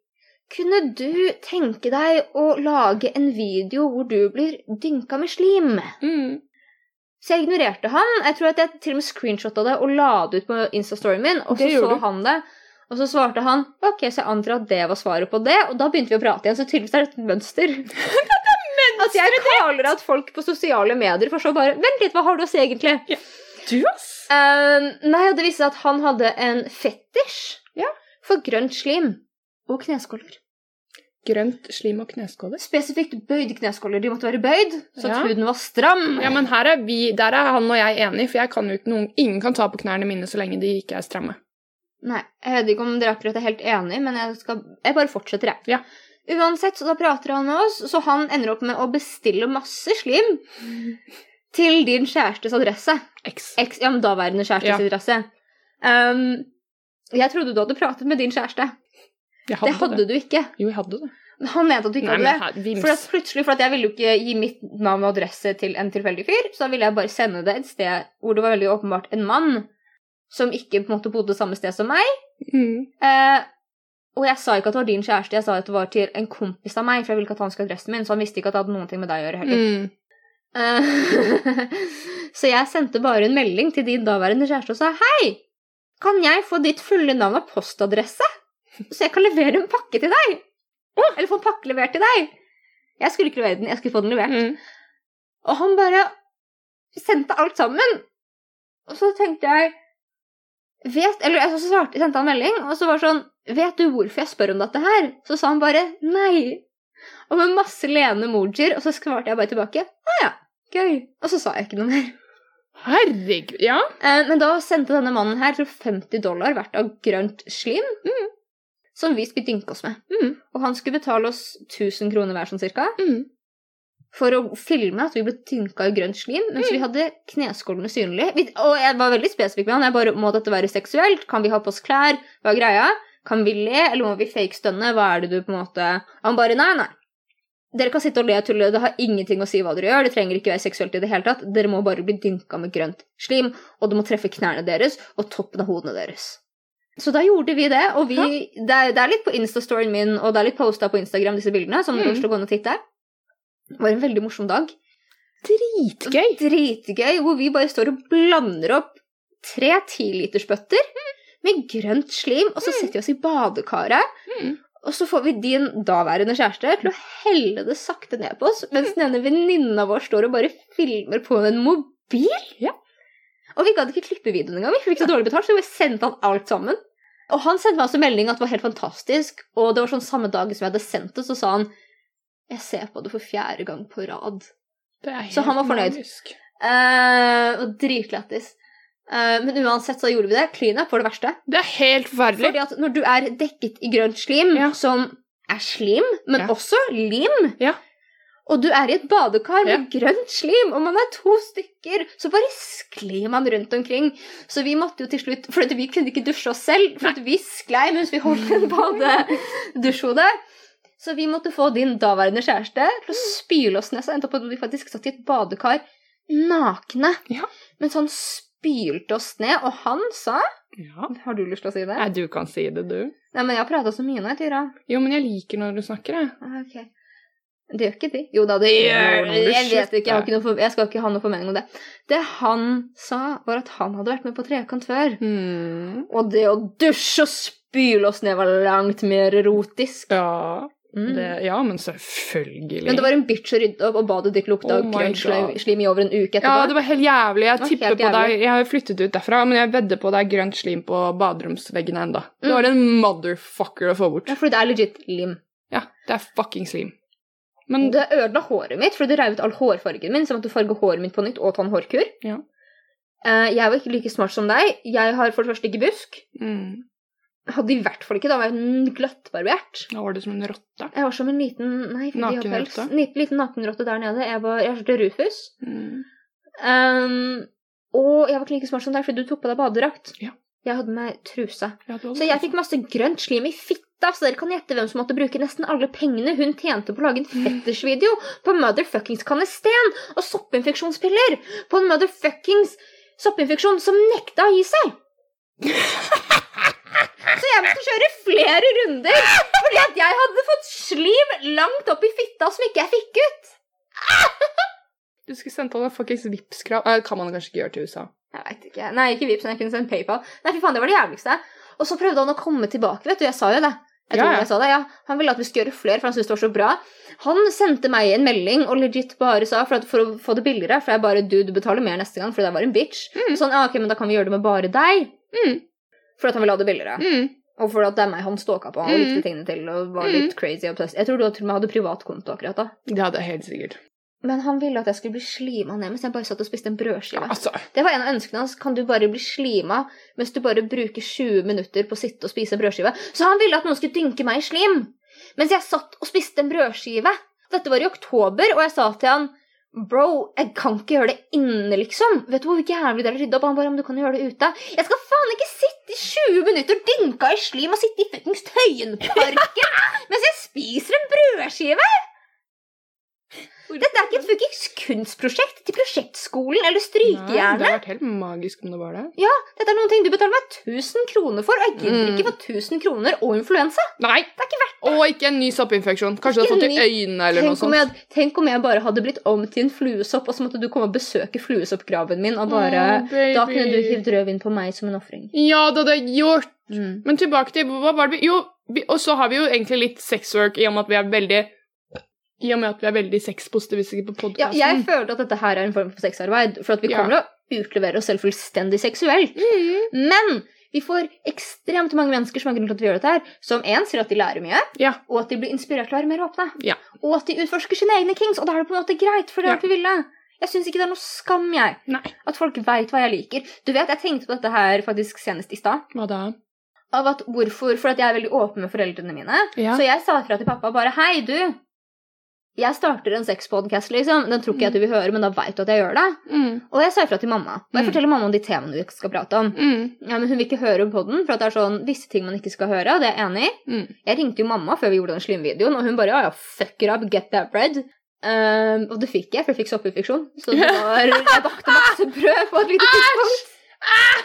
A: Kunne du tenke deg å lage en video hvor du blir dynka med slim?
B: Mm.
A: Så jeg ignorerte han. Jeg tror at jeg til og med screenshotta det og la det ut på Insta-storyen min. Og så
B: Det
A: så
B: gjorde du.
A: han det. Og så svarte han ok, så jeg antar at det var svaret på det. Og da begynte vi å prate igjen, så tydeligvis er dette et mønster. At jeg kaller at folk på sosiale medier for så bare Vent litt, hva har du å si egentlig?
B: Du, ass.
A: Um, nei, og det viste seg at han hadde en fetisj
B: Ja.
A: for grønt slim og kneskåler.
B: Grønt slim og kneskåler.
A: Spesifikt bøyd kneskåler. De måtte være bøyd, så at
B: Ja.
A: huden var stram.
B: Ja, men her er vi, Der er han og jeg enige, for jeg kan jo ikke noen, ingen kan ta på knærne mine så lenge de ikke er stramme.
A: Nei, jeg vet ikke om dere akkurat er helt enig, men jeg, skal, jeg bare fortsetter, jeg.
B: Ja.
A: Uansett, så da prater han med oss, så han ender opp med å bestille masse slim Mm. til din kjærestes adresse.
B: X.
A: Eks, ja, men daværende kjærestes
B: Ja.
A: adresse. Um, jeg trodde du hadde pratet med din kjæreste.
B: Jeg hadde
A: det hadde du ikke.
B: Jo, jeg hadde det.
A: Men han mente at du ikke
B: Nei,
A: hadde det.
B: men her, vims.
A: For at plutselig, for at jeg ville jo ikke gi mitt navn og adresse til en tilfeldig fyr, så da ville jeg bare sende det et sted hvor det var veldig åpenbart en mann som ikke på en måte bodde samme sted som meg.
B: Mm.
A: Eh, og jeg sa ikke at det var din kjæreste, jeg sa at det var til en kompis av meg, for jeg ville ikke at han skulle ha adressen min, så han visste ikke at det hadde noen ting med deg å gjøre heller.
B: Mm.
A: Eh, så jeg sendte bare en melding til din daværende kjæreste og sa hei, kan jeg få ditt fulle navn og postadresse, så jeg kan levere en pakke til deg? Eller få en pakke levert til deg? Jeg skulle ikke levere den, jeg skulle få den levert.
B: Mm.
A: Og han bare sendte alt sammen. Og så tenkte jeg vet, Eller jeg så svarte, sendte han melding, og så var det sånn Vet du hvorfor jeg spør om dette her? Så sa han bare nei. Og med masse leende emojier, og så svarte jeg bare tilbake. Å ja, gøy. Og så sa jeg ikke noe mer.
B: Herregud. Ja.
A: Eh, men da sendte denne mannen her jeg tror 50 dollar verdt av grønt slim. Mm. Som vi skulle dynke oss med.
B: Mm.
A: Og han skulle betale oss 1000 kroner hver, sånn cirka.
B: Mm.
A: for å filme at vi ble tynka i grønt slim mens vi hadde kneskålene synlige. Vi- Og jeg var veldig spesifikk med han. Jeg bare Må dette være seksuelt? Kan vi ha på oss klær? Hva er greia? Kan vi le, eller må vi fake-stønne? Hva er det du på en måte Han bare Nei, nei. Dere kan sitte og le og tulle, det har ingenting å si hva dere gjør. Det trenger ikke være seksuelt i det hele tatt. Dere må bare bli dynka med grønt slim, og det må treffe knærne deres og toppen av hodene deres. Så da gjorde vi det, og vi det, er, det er litt på Insta-storyen min, og det er litt posta på Instagram, disse bildene, som dere
B: Mm.
A: skal gå inn og titte. Det var en veldig morsom dag.
B: Dritgøy.
A: Dritgøy, hvor vi bare står og blander opp tre tilitersbøtter med grønt slim, og så setter vi oss i badekaret.
B: Mm.
A: Og så får vi din daværende kjæreste til å helle det sakte ned på oss, mens
B: Mm.
A: denne venninna vår står og bare filmer på en mobil.
B: Ja.
A: Og vi gadd ikke klippe videoen engang, vi fikk så dårlig betalt, så vi sendte han alt sammen. Og han sendte meg også melding at det var helt fantastisk, og det var sånn samme dag som jeg hadde sendt det, så sa han jeg ser på det for fjerde gang på rad.
B: Det er helt
A: Så han var fornøyd.
B: magisk.
A: Eh, og dritlættis. Eh, men uansett så gjorde vi det. Cleanup var det verste.
B: Det er helt forferdelig.
A: Fordi at når du er dekket i grønt slim,
B: Ja.
A: som er slim, men
B: Ja.
A: også lim
B: Ja.
A: Og du er i et badekar med
B: Ja.
A: grønt slim, og man er to stykker, så bare sklir man rundt omkring. Så vi måtte jo til slutt For at vi kunne ikke dusje oss selv, for at vi sklei mens vi holdt en badedusjhode. Så vi måtte få din daværende kjæreste til å spyle oss ned. Så endte opp med at vi faktisk satt i et badekar nakne.
B: Ja.
A: Mens han spylte oss ned, og han sa
B: Ja.
A: Har du lyst til å si det?
B: Nei, du kan si det, du.
A: Nei, men jeg har prata så mye nå, Tyra.
B: Jo, men jeg liker når du snakker, jeg.
A: Ah, Ok. Det gjør ikke de. Jo da, det gjør
B: Jo,
A: de.
B: nå må du
A: Jeg vet ikke, jeg, har
B: slutte.
A: ikke noe for, jeg skal ikke ha noe formening om det. Det han sa, var at han hadde vært med på Trekant før.
B: Hmm.
A: Mm. Og det å dusje og spyle oss ned var langt mer erotisk.
B: Ja.
A: Mm.
B: Det, ja, men selvfølgelig.
A: Men det var en bitch å rydde opp, og badet ditt lukta
B: Oh
A: av
B: my
A: grønt
B: God.
A: slim- slim i over en uke etterpå.
B: Ja, det var helt jævlig. Jeg
A: Det var
B: tipper
A: helt
B: på
A: jævlig.
B: deg. Jeg har flyttet ut derfra, men jeg vedder på det er grønt slim på baderomsveggene enda. Det var en motherfucker å få bort.
A: Mm. Ja, fordi det er legit lim.
B: Ja, det er fucking slim. Men
A: Det ødela håret mitt, fordi det rev ut all hårfargen min, så jeg måtte farge håret mitt på nytt og ta en hårkur.
B: Ja.
A: Eh, jeg var ikke like smart som deg. Jeg har for det første ikke busk.
B: mm,
A: Hadde i hvert fall ikke, da var jeg en gløttbarbert.
B: da var det som en rotte.
A: Jeg var som en liten Nei, for de har pels.
B: Nakenrotte.
A: Ni- Liten nakenrotte der nede. Jeg var jeg hørte Rufus.
B: Mm.
A: Ehm, og jeg var ikke like smart som deg, fordi du tok på deg badedrakt.
B: Ja.
A: Jeg hadde med truse.
B: Ja, det var
A: Så jeg fikk masse grønt slim i fitta, så dere kan gjette hvem som måtte bruke nesten alle pengene hun tjente på å lage en fettersvideo på motherfuckings kanesten og soppinfeksjonspiller på en motherfuckings soppinfeksjon som nekta å gi seg. Så jeg måtte kjøre flere runder fordi at jeg hadde fått slim langt opp i fitta som ikke jeg fikk ut.
B: Du skulle sendt alle fuckings Vipps-krav. Det kan man kanskje ikke gjøre til USA.
A: Jeg vet ikke. Nei, ikke Vipps, men jeg kunne sendt PayPal. Nei, fy faen, det var det jævligste. Og så prøvde han å komme tilbake, vet du. Jeg sa jo det. Jeg
B: Ja,
A: tror
B: ja.
A: jeg sa det, ja. Han ville at vi skulle gjøre flere, for han syntes det var så bra. Han sendte meg en melding og legit bare sa, for, at, for å få det billigere, for jeg bare, du, du betaler mer neste gang, fordi det var en bitch.
B: Mm.
A: Sånn, ja, ok, men da kan vi gjøre det med bare deg.
B: Mm.
A: For at han ville ha det billigere.
B: Mm.
A: Og for at det er meg han stalka på, og
B: Mm.
A: likte tingene til, og var litt crazy og obsessed. Jeg tror du til og med hadde privat konto akkurat da.
B: Det hadde jeg helt sikkert.
A: Men han ville at jeg skulle bli slima ned mens jeg bare satt og spiste en brødskive.
B: Altså,
A: Det var en av ønskene hans. Kan du bare bli slima mens du bare bruker 20 minutter på å sitte og spise en brødskive? Så han ville at noen skulle dynke meg i slim mens jeg satt og spiste en brødskive. Dette var i oktober, og jeg sa til han Bro, jeg kan ikke gjøre det inne, liksom. Vet du hvor jævlig det er å rydde opp? Han bare, men du kan jo gjøre det ute. Jeg skal faen ikke sitte i 20 minutter dynka i slim og sitte i fuckings Tøyenparken mens jeg spiser en brødskive! Dette er ikke et fuckings kunstprosjekt til prosjektskolen eller
B: Nei,
A: strykejernet.
B: Det hadde vært helt magisk om det var det.
A: Dette er noen ting du betaler meg 1000 kroner for, og jeg gidder
B: Mm.
A: ikke få 1000 kroner og influensa.
B: Nei!
A: Det er ikke
B: verdt det. Og ikke en ny soppinfeksjon. Kanskje du
A: Ikke
B: har fått
A: en
B: i øynene eller noe
A: Tenk om,
B: sånt.
A: jeg, tenk om jeg bare hadde blitt om til en fluesopp, og så måtte du komme og besøke fluesoppgraven min, og bare
B: Å,
A: Da kunne du
B: baby.
A: hivd rødvin på meg som en ofring.
B: Ja, det hadde jeg gjort. Men tilbake til hva var det vi Jo, vi, og så har vi jo egentlig litt sexwork i og med at vi er veldig I og med at vi er veldig sexpositivistiske på
A: Ja,
B: podkasten.
A: jeg føler at dette her er en form for sexarbeid, for at vi
B: Ja.
A: kommer til å utlevere oss selv fullstendig seksuelt.
B: mm.
A: Men vi får ekstremt mange mennesker som har grunn til at vi gjør dette her, som en sier at de lærer mye,
B: Ja.
A: og at de blir inspirert til å være mer åpne.
B: Ja.
A: Og at de utforsker sine egne kings, og da er det på en måte greit, for det
B: Ja.
A: har vært vi ville. Jeg syns ikke det er noe skam, jeg.
B: Nei.
A: At folk veit hva jeg liker. Du vet, jeg tenkte på dette her faktisk senest i stad.
B: Hva da?
A: Av at hvorfor, For at jeg er veldig åpen med foreldrene mine.
B: Ja.
A: Så jeg sa fra til pappa bare Hei, du. Jeg starter en sexpodcast, liksom. Den tror ikke jeg at du vil høre, men da veit du at jeg gjør det.
B: Mm.
A: Og jeg sa ifra til mamma. Og jeg
B: Mm.
A: forteller mamma om de temaene vi skal prate om.
B: Mm.
A: Ja, men Hun vil ikke høre på den, for at det er sånn visse ting man ikke skal høre. og Det er jeg enig i.
B: Mm.
A: Jeg ringte jo mamma før vi gjorde den slimvideoen, og hun bare ja, ja, fuck it up, get that bread. Ehm, og det fikk jeg, for jeg fikk soppinfeksjon. Så det var, jeg bakte masse brød på et lite tidspunkt. Ah!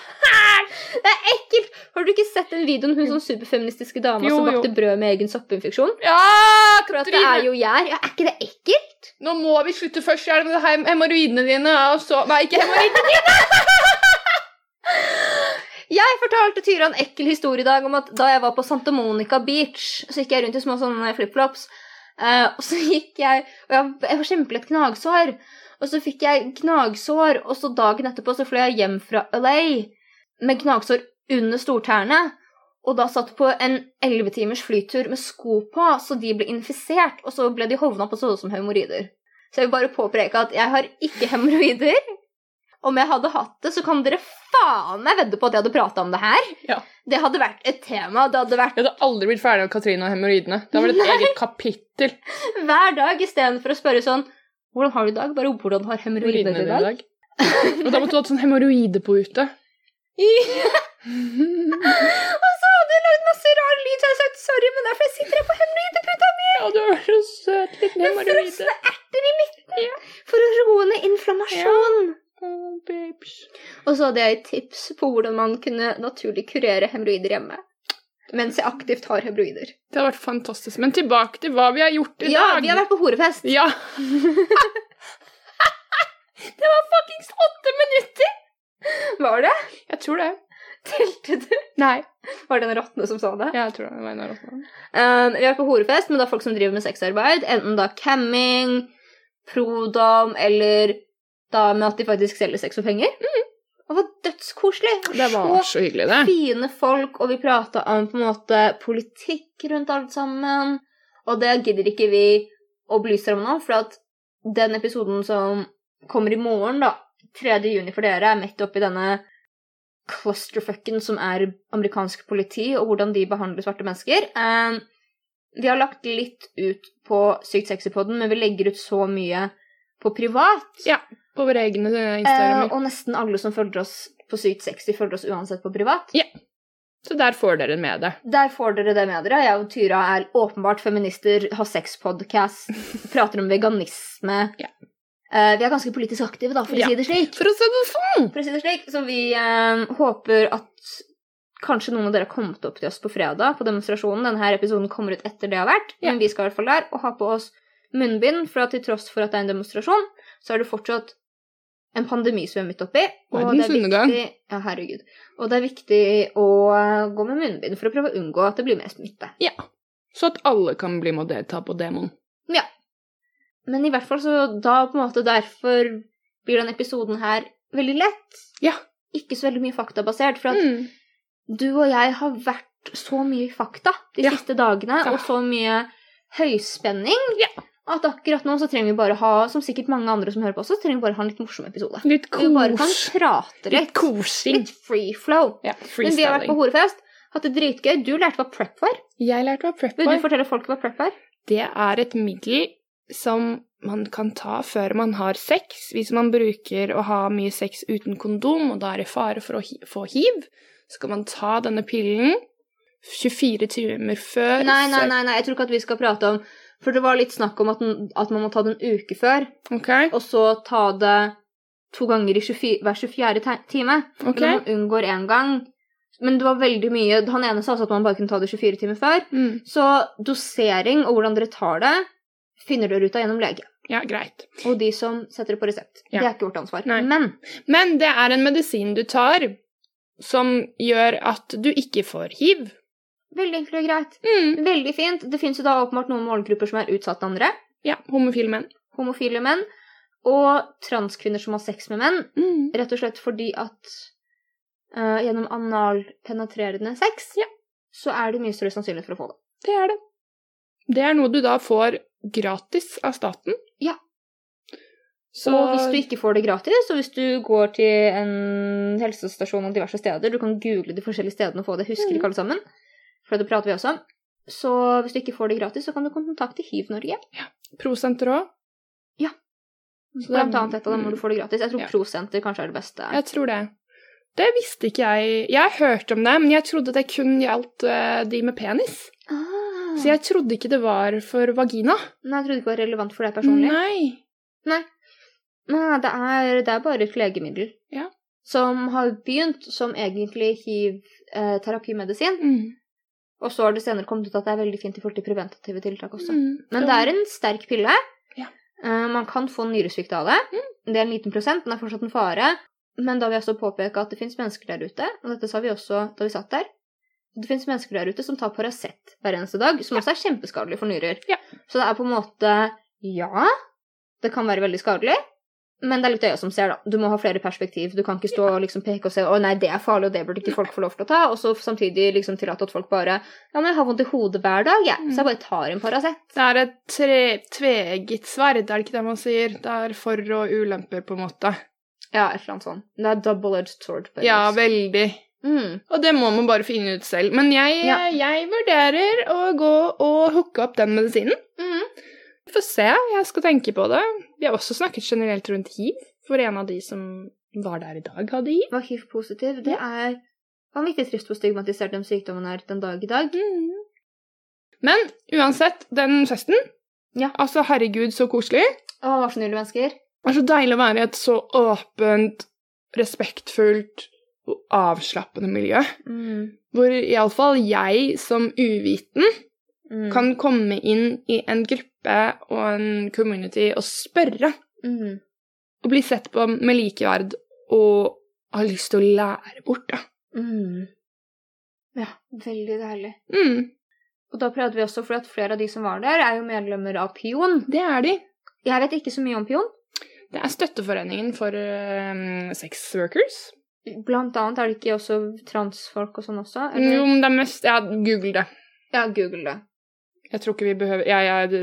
A: Det er ekkelt! Har du ikke sett den videoen hun sånn superfeministiske dama
B: Jo,
A: som
B: jo.
A: bakte brød med egen soppinfeksjon?
B: ja
A: For at det er
B: Katrine!
A: jo jeg. Ja, er ikke det ekkelt?
B: Nå må vi slutte først, Hjelm. Det her med hemoroidene dine og så Nei, ikke hemoroidene!
A: Jeg fortalte Tyra en ekkel historie i dag om at da jeg var på Santa Monica Beach, så gikk jeg rundt i små sånne flipflops, eh, og så gikk jeg Og jeg, jeg var kjempelig et gnagsår. Og så fikk jeg gnagsår, og så dagen etterpå så fløy jeg hjem fra LA med gnagsår under stortærne. Og da satt på en 11 timers flytur med sko på, så de ble infisert. Og så ble de hovna på så ut som hemoroider. Så jeg vil bare påpeke at jeg har ikke hemoroider. Om jeg hadde hatt det, så kan dere faen meg vedde på at jeg hadde prata om det her.
B: Ja.
A: Det hadde vært et tema. Det hadde vært
B: Jeg hadde aldri blitt ferdig med Katrine og hemoroidene. Det var et eget kapittel.
A: hver dag istedenfor å spørre sånn Hvordan har du i dag? Bare hvordan har hemoroider i
B: Hemoroidene dine i
A: dag?
B: dag. Og da måtte du hatt sånn hemoroide på ute.
A: og så hadde hun lagd masse rar lyd, så jeg hadde sagt sorry, men det er fordi jeg sitter her på hemoroideputa mi
B: Ja, du er så søt liten
A: med
B: hemoroide.
A: frosne erter i midten for å roe ned inflammasjon.
B: Oh, babes.
A: Og så hadde jeg et tips på hvordan man kunne naturlig kurere hemoroider hjemme. Mens jeg aktivt har hemoroider.
B: Det har vært fantastisk. Men tilbake til hva vi har gjort i
A: Ja,
B: dag.
A: vi har vært på horefest.
B: Ja. det var fuckings åtte minutter!
A: Var det?
B: Jeg tror det.
A: Telte du?
B: Nei,
A: Var det en råtne som sa det?
B: jeg tror det var en av rottene.
A: Eh, vi har på horefest, men det er folk som driver med sexarbeid. Enten da camming, prodom, eller da med at de faktisk selger sex for penger. Mm. Og det var dødskoselig. og
B: Det var så hyggelig, det.
A: fine folk, og vi prata om på en måte politikk rundt alt sammen. Og det gidder ikke vi å belyse om nå, for at den episoden som kommer i morgen, da, 3. juni for dere, er midt oppi denne clusterfucken som er amerikansk politi, og hvordan de behandler svarte mennesker. Eh, vi har lagt litt ut på Sykt sexy-podden, men vi legger ut så mye på privat.
B: På våre egne eh,
A: Eh,
B: Instagrammer.
A: og nesten alle som følger oss på Sykt sexy, følger oss uansett på privat.
B: Så der får dere med det.
A: Der får dere det med dere. Jeg og Tyra er åpenbart feminister, har sexpodcast, prater om veganisme.
B: Ja.
A: Eh, vi er ganske politisk aktive, da, for å
B: Ja.
A: si det slik.
B: For å si det sånn!
A: For å si det slik, Så vi eh, håper at kanskje noen av dere har kommet opp til oss på fredag på demonstrasjonen. Denne her episoden kommer ut etter det har vært,
B: Ja.
A: men vi skal i hvert fall der og ha på oss munnbind, for at til tross for at det er en demonstrasjon, så er det fortsatt en pandemi som vi er midt oppi.
B: Verdens undergang.
A: viktig Ja, herregud. Og det er viktig å eh, gå med munnbind for å prøve å unngå at det blir mer smitte.
B: Så at alle kan bli med og delta på demoen.
A: Men i hvert fall så da på en måte derfor blir den episoden her veldig lett.
B: Ja.
A: Ikke så veldig mye faktabasert, for at
B: Mm.
A: du og jeg har vært så mye i fakta de
B: Ja.
A: siste dagene,
B: Ja.
A: og så mye høyspenning,
B: Ja.
A: at akkurat nå så trenger vi bare ha, som sikkert mange andre som hører på oss, så trenger vi bare ha en litt morsom episode.
B: Litt
A: Vi bare kan
B: kos.
A: prate
B: Litt
A: litt.
B: kosing.
A: Litt free flow.
B: Ja,
A: Men vi har vært på
B: freestyling.
A: horefest, hatt det dritgøy. Du lærte hva prep var.
B: Jeg lærte hva prep
A: Vil
B: var.
A: du fortelle folk hva prep er?
B: Det er et middel som man kan ta før man har sex. Hvis man bruker å ha mye sex uten kondom, og da er det fare for å hi få hiv, så kan man ta denne pillen 24 timer før
A: Nei, nei,
B: sex.
A: nei, nei, jeg tror ikke at vi skal prate om For det var litt snakk om at, den, at man må ta den en uke før,
B: Ok,
A: og så ta det to ganger i 24, hver 24. te- time. Men
B: ok.
A: man unngår én gang. Men det var veldig mye Han ene sa altså at man bare kunne ta det 24 timer før.
B: Mm,
A: Så dosering og hvordan dere tar det, finner dere ut av gjennom lege.
B: ja, greit.
A: Og de som setter det på resept.
B: Ja.
A: Det er ikke vårt ansvar.
B: Nei.
A: Men
B: Men det er en medisin du tar som gjør at du ikke får hiv.
A: veldig enkelt og greit.
B: Mm,
A: Veldig fint. Det fins jo da åpenbart noen målgrupper som er utsatt enn andre.
B: ja, homofile menn.
A: Homofile menn. Og transkvinner som har sex med menn.
B: Mm.
A: Rett og slett fordi at eh, gjennom analpenetrerende sex
B: Ja.
A: så er det mye større sannsynlighet for å få det.
B: Det er det. Det er noe du da får gratis av staten.
A: Ja.
B: Så
A: Og hvis du ikke får det gratis, og hvis du går til en helsestasjon og diverse steder Du kan google de forskjellige stedene og få det, husker
B: Mm.
A: ikke alle sammen. For det prater vi også om. Så hvis du ikke får det gratis, så kan du kontakte Hiv Norge.
B: Prosenter òg. Så det er-
A: Blant annet et av dem hvor du får det gratis. Jeg tror
B: Mm. Ja.
A: Prosenter kanskje er det beste.
B: Jeg tror det. Det visste ikke jeg. Jeg har hørt om det, men jeg trodde det kun gjaldt eh, de med penis.
A: Ah.
B: Så jeg trodde ikke det var for vagina.
A: Nei, jeg trodde ikke det var relevant for deg personlig.
B: Nei.
A: Nei, det er, det er bare et legemiddel.
B: Ja.
A: Som har begynt som egentlig hiv-terapimedisin.
B: Mm.
A: og så har det senere kommet ut at det er veldig fint i forhold til preventative tiltak også.
B: Mm.
A: Men det er en sterk pille.
B: Ja. Mm.
A: Eh, man kan få nyresvikt av det. Det er en liten prosent, men det er fortsatt en fare. Men da vil jeg også påpeke at det fins mennesker der ute, og dette sa vi også da vi satt der Det fins mennesker der ute som tar Paracet hver eneste dag, som også er kjempeskadelig for nyrer.
B: Ja.
A: Så det er på en måte Ja, det kan være veldig skadelig. Men det er litt øya som ser, da. Du må ha flere perspektiv. Du kan ikke stå og liksom peke og se 'Å nei, det er farlig, og det burde ikke folk få lov til å ta', og så samtidig liksom tillate at folk bare 'Ja, men jeg har vondt i hodet hver dag, jeg, så
B: Mm.
A: jeg bare tar en Paracet'.
B: Det er et tre, tveegget sverd, er det ikke det man sier? Det er for- og ulemper, på en måte.
A: Ja, et eller annet sånt. Det er double-edged sword. på
B: Ja,
A: engelsk.
B: veldig.
A: Mm.
B: Og det må man bare finne ut selv. Men jeg,
A: Ja.
B: jeg vurderer å gå og hooke opp den medisinen.
A: Mm.
B: Vi får se, jeg skal tenke på det. Vi har også snakket generelt rundt hiv, for en av de som var der i dag, hadde hiv.
A: Var hiv-positiv. Det er vanvittig trist hvor stigmatisert den sykdommen er den dag i dag.
B: Men uansett, den festen
A: Ja.
B: Altså, herregud, så koselig.
A: Å, hva så nydelige mennesker.
B: Det er så deilig å være i et så åpent, respektfullt og avslappende miljø.
A: Mm.
B: Hvor iallfall jeg som uviten
A: Mm.
B: kan komme inn i en gruppe og en community og spørre
A: Mm.
B: og bli sett på med likeverd og har lyst til å lære bort, da.
A: Mm. Ja, veldig deilig.
B: Mm,
A: Og da prøvde vi også, for at flere av de som var der, er jo medlemmer av Pion.
B: det er de.
A: Jeg vet ikke så mye om Pion.
B: Det er støtteforeningen for um, sex workers.
A: Blant annet er det ikke også transfolk og sånn også?
B: Jo,
A: Eller?
B: men det er mest Ja, google det.
A: Ja, google det.
B: Jeg tror ikke vi behøver ja, ja, det,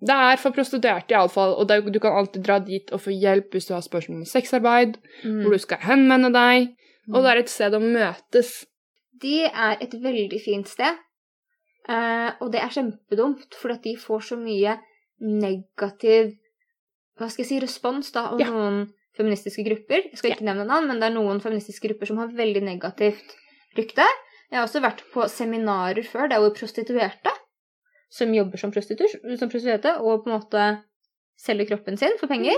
B: det er for prostituerte, iallfall. Og det, du kan alltid dra dit og få hjelp hvis du har spørsmål om sexarbeid,
A: Mm.
B: hvor du skal henvende deg. Og det er et sted å møtes.
A: Det er et veldig fint sted. Eh, og det er kjempedumt, for at de får så mye negativ hva skal jeg si, respons da, av
B: Ja.
A: noen feministiske grupper. Jeg skal ikke nevne navn, men det er noen feministiske grupper som har veldig negativt rykte. Jeg har også vært på seminarer før der hvor prostituerte, som jobber som, prostitus, som prostituerte og på en måte selger kroppen sin for penger,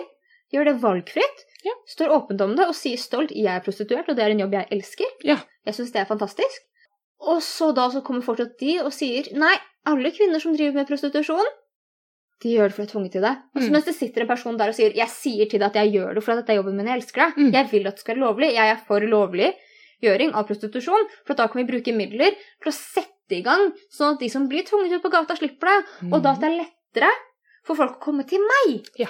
A: gjør det valgfritt,
B: Mm. Ja.
A: står åpent om det og sier stolt 'jeg er prostituert', og det er en jobb jeg elsker.
B: Ja.
A: Jeg syns det er fantastisk. Og så da så kommer fortsatt de og sier nei, alle kvinner som driver med prostitusjon, de gjør det fordi de er tvunget til det. Og så
B: Mm.
A: mens det sitter en person der og sier jeg sier til deg at jeg gjør det fordi dette er jobben min, jeg elsker deg.
B: Mm.
A: Jeg vil at det skal være lovlig. Jeg er for lovliggjøring av prostitusjon, for at da kan vi bruke midler til å sette i gang, sånn at de som blir tvunget ut på gata, slipper det. Og da at det er lettere for folk å komme til meg.
B: Mm. Ja.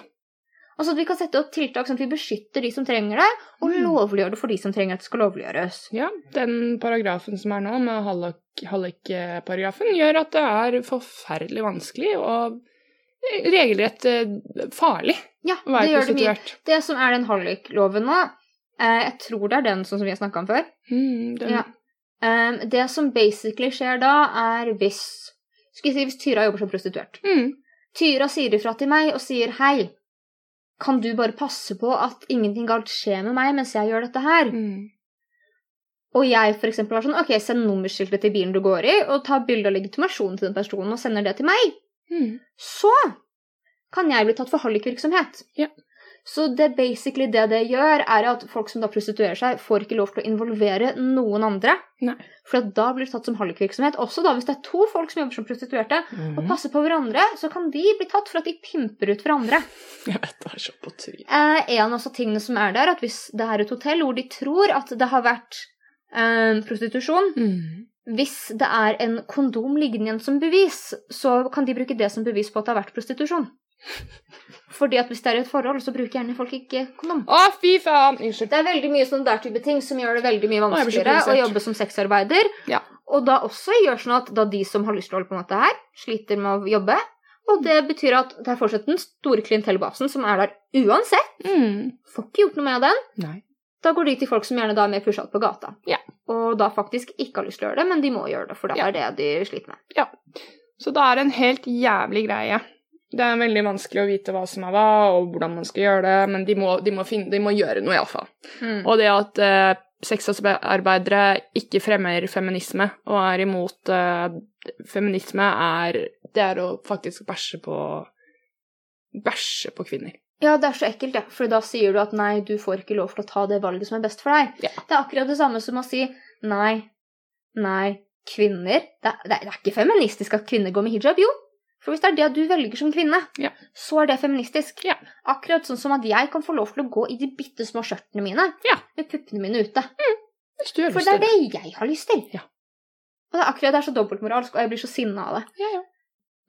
A: Altså at vi kan sette opp tiltak sånn at vi beskytter de som trenger det, og
B: Mm.
A: lovliggjør det for de som trenger at det skal lovliggjøres.
B: Ja, den paragrafen som er nå, med hallik- hallik-paragrafen, gjør at det er forferdelig vanskelig og regelrett eh, farlig
A: Ja,
B: å være
A: det gjør det mye.
B: prostituert.
A: Det som er den hallikloven nå, eh, jeg tror det er den sånn som vi har snakka om før.
B: Mm, den,
A: Ja. Em, det som basically skjer da, er hvis Skal jeg si hvis Tyra jobber som prostituert.
B: mm,
A: Tyra sier ifra til meg og sier hei. Kan du bare passe på at ingenting galt skjer med meg mens jeg gjør dette her?
B: mm.
A: Og jeg for eksempel var sånn OK, send nummerskiltet til bilen du går i, og ta bilde av legitimasjonen til den personen og sender det til meg.
B: Mm.
A: så kan jeg bli tatt for hallikvirksomhet.
B: Ja.
A: Så det basically det det gjør, er at folk som da prostituerer seg, får ikke lov til å involvere noen andre.
B: Nei.
A: For at da blir det tatt som hallikvirksomhet. Også da hvis det er to folk som jobber som prostituerte, og
B: Mm.
A: passer på hverandre, så kan de bli tatt for at de pimper ut hverandre.
B: Jeg vet det er så på trynet.
A: Eh, en av også tingene som er der, at hvis det er et hotell hvor de tror at det har vært eh, prostitusjon,
B: Mm.
A: hvis det er en kondom liggende igjen som bevis, så kan de bruke det som bevis på at det har vært prostitusjon. Fordi at hvis det er et forhold, så bruker gjerne folk ikke kondom.
B: Å, fy faen! Unnskyld.
A: Det er veldig mye sånn der type ting som gjør det veldig mye
B: Å, jeg blir så
A: vanskeligere å
B: provosert.
A: jobbe som sexarbeider.
B: Ja.
A: Og da også gjør sånn at da de som har lyst til å holde på med dette her, sliter med å jobbe. Og det betyr at det er fortsatt den store klientellbasen som er der uansett.
B: Mm.
A: Får ikke gjort noe med den.
B: Nei.
A: Da går de til folk som gjerne da er mer pusha ut på gata.
B: Ja.
A: Og da faktisk ikke har lyst til å gjøre det, men de må gjøre det, for da
B: Ja.
A: er det de sliter med.
B: Så det er en helt jævlig greie. Det er veldig vanskelig å vite hva som er hva, og hvordan man skal gjøre det, men de må, de må, finne, de må gjøre noe, iallfall. Og det at eh, sexarbeidere ikke fremmer feminisme og er imot eh, feminisme, er, det er å faktisk bæsje på Bæsje på kvinner.
A: Ja, det er så ekkelt, ja. For da sier du at nei, du får ikke lov til å ta det valget som er best for deg.
B: Ja.
A: Det er akkurat det samme som å si nei, nei, kvinner det er, det er ikke feministisk at kvinner går med hijab, jo. For hvis det er det du velger som kvinne,
B: Ja.
A: så er det feministisk.
B: Ja.
A: Akkurat sånn som at jeg kan få lov til å gå i de bitte små skjørtene mine
B: Ja.
A: med puppene mine ute.
B: Hvis du gjør
A: For det er det jeg har lyst til.
B: Ja.
A: Og det er akkurat det er så dobbeltmoralsk, og jeg blir så sinna av det.
B: Ja, ja.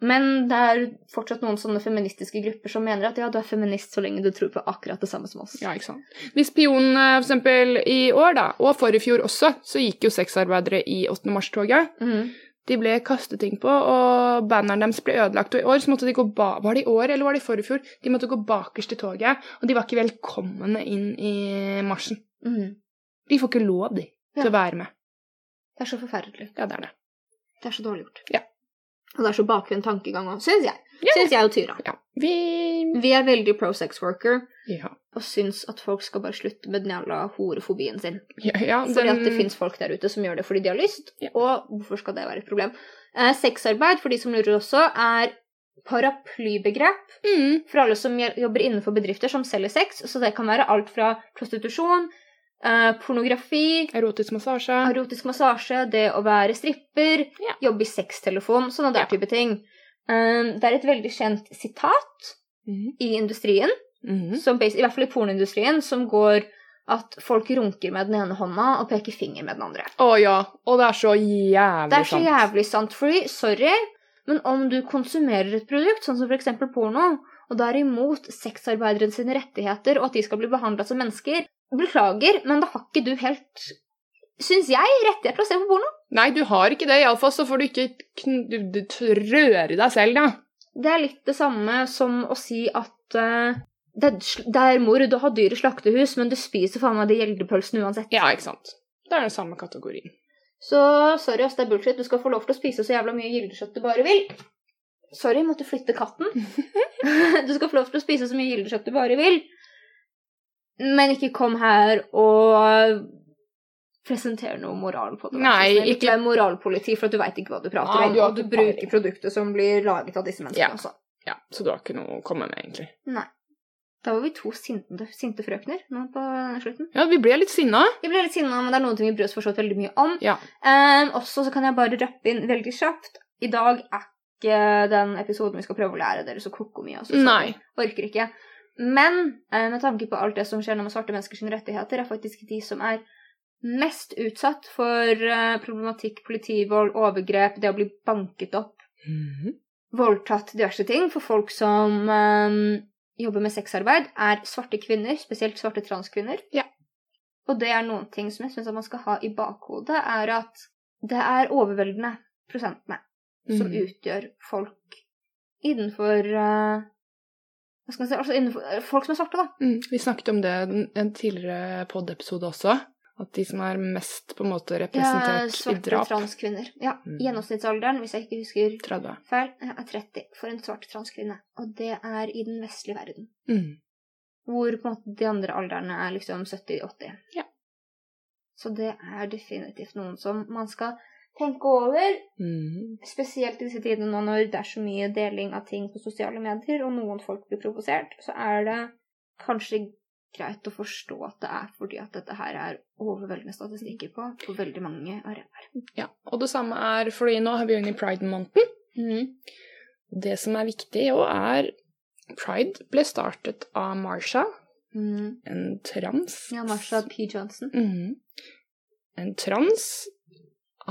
A: Men det er fortsatt noen sånne feministiske grupper som mener at ja, du er feminist så lenge du tror på akkurat det samme som oss.
B: Ja, ikke sant. Hvis pionene for eksempel i år, da, og for i fjor også, så gikk jo sexarbeidere i 8. mars-toget.
A: Mhm.
B: De ble kastet ting på, og banneren deres ble ødelagt. Og i år så måtte de gå ba Var det i år, eller var det i forrige fjor? De måtte gå bakerst i toget, og de var ikke velkomne inn i marsjen.
A: Mhm.
B: De får ikke lov, de,
A: Ja.
B: til å være med.
A: Det er så forferdelig.
B: Ja, det er det.
A: Det er så dårlig gjort.
B: Ja.
A: Og det er så bakvendt tankegang òg, syns jeg.
B: Ja.
A: Syns jeg og Tyra.
B: Ja. Vi
A: Vi er veldig pro sex worker
B: Ja.
A: og syns at folk skal bare slutte med den jævla horefobien sin.
B: ja, ja
A: Altså, Fordi at det
B: den-
A: fins folk der ute som gjør det fordi de har lyst,
B: Ja.
A: og hvorfor skal det være et problem? Eh, sexarbeid, for de som lurer også, er paraplybegrep
B: mm,
A: for alle som gjel- jobber innenfor bedrifter som selger sex. Så det kan være alt fra prostitusjon, eh, pornografi,
B: Erotisk massasje.
A: erotisk massasje, det å være stripper,
B: Ja.
A: jobbe i sextelefon, sånne der
B: Ja.
A: type ting. Eh, det er et veldig kjent sitat
B: Mm.
A: i industrien,
B: Mm.
A: som bas- i hvert fall i pornoindustrien, som går at folk runker med den ene hånda og peker finger med den andre.
B: Å ja. Og det er så jævlig
A: Det er så
B: sant.
A: jævlig sant, fordi, sorry, men om du konsumerer et produkt, sånn som for eksempel porno, og da er imot sexarbeideren sine rettigheter og at de skal bli behandla som mennesker, beklager, men da har ikke du helt, syns jeg, rettighet til å se på porno.
B: Nei, du har ikke det. Iallfall så får du ikke kn du, du røre deg selv, da.
A: Det er litt det samme som å si at eh, det, er, sl- det er mord å ha dyr i slaktehus, men du spiser faen meg de gjeldepølsene uansett.
B: Ja, ikke sant. Det er den samme kategorien.
A: Så sorry, ass, det er bullshit. Du skal få lov til å spise så jævla mye gildekjøtt du bare vil. Sorry, måtte flytte katten. du skal få lov til å spise så mye gildekjøtt du bare vil. Men ikke kom her og presentere noe moral på det. vær så
B: Nei,
A: snill.
B: ikke-
A: ikke vær moralpoliti, for at du veit ikke hva du prater
B: Nei,
A: om.
B: du har
A: og du
B: ikke
A: bruker produktet som blir laget av disse menneskene altså.
B: Ja.
A: også.
B: Ja, Så du har ikke noe å komme med, egentlig.
A: Da var vi to sinte, sinte frøkner nå på slutten.
B: Ja, vi ble litt sinna.
A: Jeg ble litt sinna, men det er noen ting vi bryr oss forstått veldig mye om.
B: Ja.
A: Ehm, også så kan jeg bare rappe inn veldig kjapt. I dag er ikke den episoden vi skal prøve å lære dere så koko mye. Altså, så
B: Nei.
A: jeg Orker ikke. Men eh, med tanke på alt det som skjer nå med svarte menneskers rettigheter, er faktisk de som er mest utsatt for eh, problematikk, politivold, overgrep, det å bli banket opp
B: Mhm.
A: voldtatt diverse ting for folk som ehm, jobber med sexarbeid, er svarte kvinner, spesielt svarte transkvinner.
B: Ja.
A: Og det er noen ting som jeg syns man skal ha i bakhodet, er at det er overveldende prosentene som
B: Mhm.
A: utgjør folk innenfor eh, Hva skal man si Altså innenfor eh, folk som er svarte, da.
B: Mm, vi snakket om det i en tidligere pod-episode også. At de som er mest på en måte
A: Ja,
B: representert i
A: svarte
B: drap
A: transkvinner. Ja.
B: Mhm.
A: Gjennomsnittsalderen, hvis jeg ikke husker
B: 30.
A: feil, er 30 for en svart transkvinne. Og det er i den vestlige verden.
B: Mm.
A: Hvor på en måte de andre aldrene er liksom 70-80.
B: Ja.
A: Så det er definitivt noen som man skal tenke over,
B: Mm.
A: spesielt i disse tidene nå når det er så mye deling av ting på sosiale medier, og noen folk blir provosert, så er det kanskje greit å forstå at det er fordi at dette her er overveldende statistikker på på veldig mange arenaer.
B: Ja. Og det samme er fordi nå er vi jo inne i pride-måneden.
A: Mm.
B: Det som er viktig òg, er Pride ble startet av Marsha,
A: Mm.
B: en trans
A: Ja, Marsha P. Johnson.
B: Mhm. En trans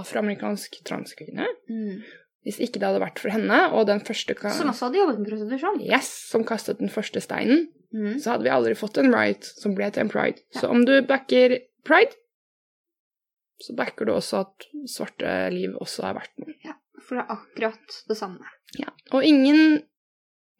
B: afroamerikansk transkvinne.
A: Mm.
B: Hvis ikke det hadde vært for henne, og den første ka-
A: Som også hadde jobbet med prostitusjon.
B: Yes, som kastet den første steinen,
A: Mm.
B: så hadde vi aldri fått en right som ble til en pride. Så om du backer pride, så backer du også at svarte liv også er verdt noe.
A: For det er akkurat det samme.
B: Ja. Og ingen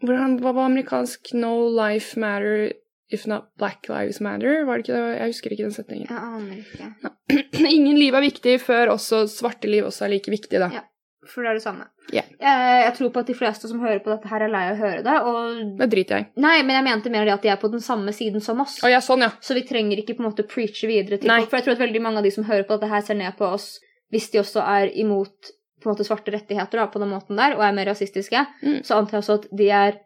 B: hvordan, Hva var amerikansk 'no life matter if not black lives matter'? Var det ikke det? Jeg husker ikke den setningen.
A: Jeg aner ikke.
B: Ingen liv er viktig før også svarte liv også er like viktig, da.
A: Ja. For det er det samme.
B: Ja.
A: Eh, Jeg tror på at de fleste som hører på dette, her er lei av å høre det. Og...
B: Det driter jeg i.
A: Nei, men jeg mente mer det at de er på den samme siden som oss.
B: Å ja, sånn, ja.
A: Så vi trenger ikke på en måte preache videre til
B: Nei.
A: folk. For jeg tror at veldig mange av de som hører på dette, her ser ned på oss hvis de også er imot på en måte svarte rettigheter da, på den måten der, og er mer rasistiske.
B: Mm.
A: Så antar jeg også at de er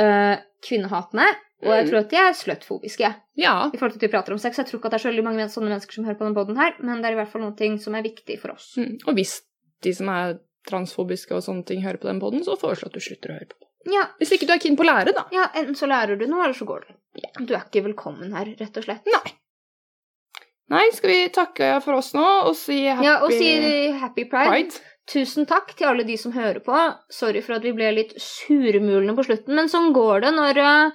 A: øh, kvinnehatende. Og jeg
B: Mm.
A: tror at de er sløttfobiske
B: Ja.
A: i forhold til at vi prater om sex. Jeg tror ikke at det er så veldig mange sånne mennesker som hører på denne podden her, men det er i hvert fall noen ting som er viktig for oss.
B: Mm. Og hvis de som er transfobiske og sånne ting hører på den poden, så foreslå at du slutter å høre på.
A: Ja,
B: Hvis ikke du er keen på å lære, da.
A: Ja, enten så lærer du noe, eller så går du. Du er ikke velkommen her, rett og slett.
B: Nei. Nei, skal vi takke for oss nå og si happy
A: Ja, og si happy pride.
B: pride?
A: Tusen takk til alle de som hører på. Sorry for at vi ble litt surmulende på slutten, men sånn går det når eh,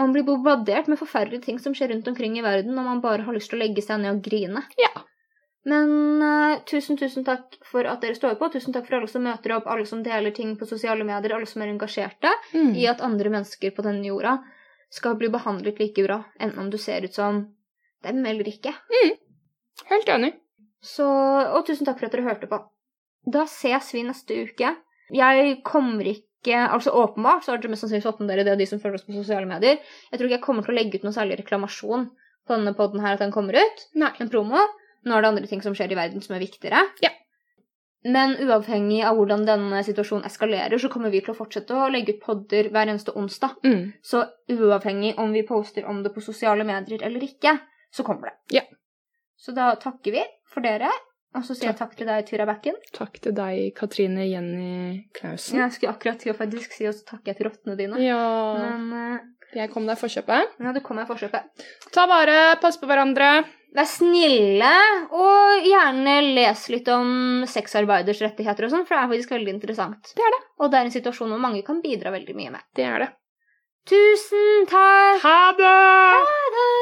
A: man blir bombardert med forferdelige ting som skjer rundt omkring i verden, og man bare har lyst til å legge seg ned og grine.
B: Ja.
A: Men eh, tusen, tusen takk for at dere står på. Tusen takk for alle som møter opp, alle som deler ting på sosiale medier, alle som er engasjerte.
B: Mm.
A: i at andre mennesker på denne jorda skal bli behandlet like bra, enten om du ser ut som dem eller ikke.
B: Helt enig.
A: Så, og tusen takk for at dere hørte på. Da ses vi neste uke. Jeg kommer ikke Altså åpenbart så er det mest sannsynlig å dere det, og de som følger oss på sosiale medier. Jeg tror ikke jeg kommer til å legge ut noe særlig reklamasjon på denne podden her at den kommer ut.
B: Nei.
A: En promo. Nå er det andre ting som skjer i verden som er viktigere.
B: Ja.
A: Men uavhengig av hvordan denne situasjonen eskalerer, så kommer vi til å fortsette å legge ut podder hver eneste onsdag.
B: Mm.
A: Så uavhengig om vi poster om det på sosiale medier eller ikke, så kommer det.
B: Ja.
A: Så da takker vi for dere, og så sier jeg takk til deg, Tyra Bekken.
B: Takk til deg, Katrine Jenny Knausen.
A: Jeg skulle akkurat til å faktisk si, og så takker jeg til rottene dine.
B: Mm. Ja.
A: Men eh,
B: Jeg kom deg i forkjøpet.
A: Ja, det kommer jeg forkjøpet.
B: Ta vare, pass på hverandre.
A: Vær snille, og gjerne les litt om sexarbeiders rettigheter og sånn, for det er faktisk veldig interessant.
B: Det er
A: det. Og det er en situasjon hvor mange kan bidra veldig mye med.
B: Det er det.
A: Tusen takk!
B: Ha det!
A: Ha det!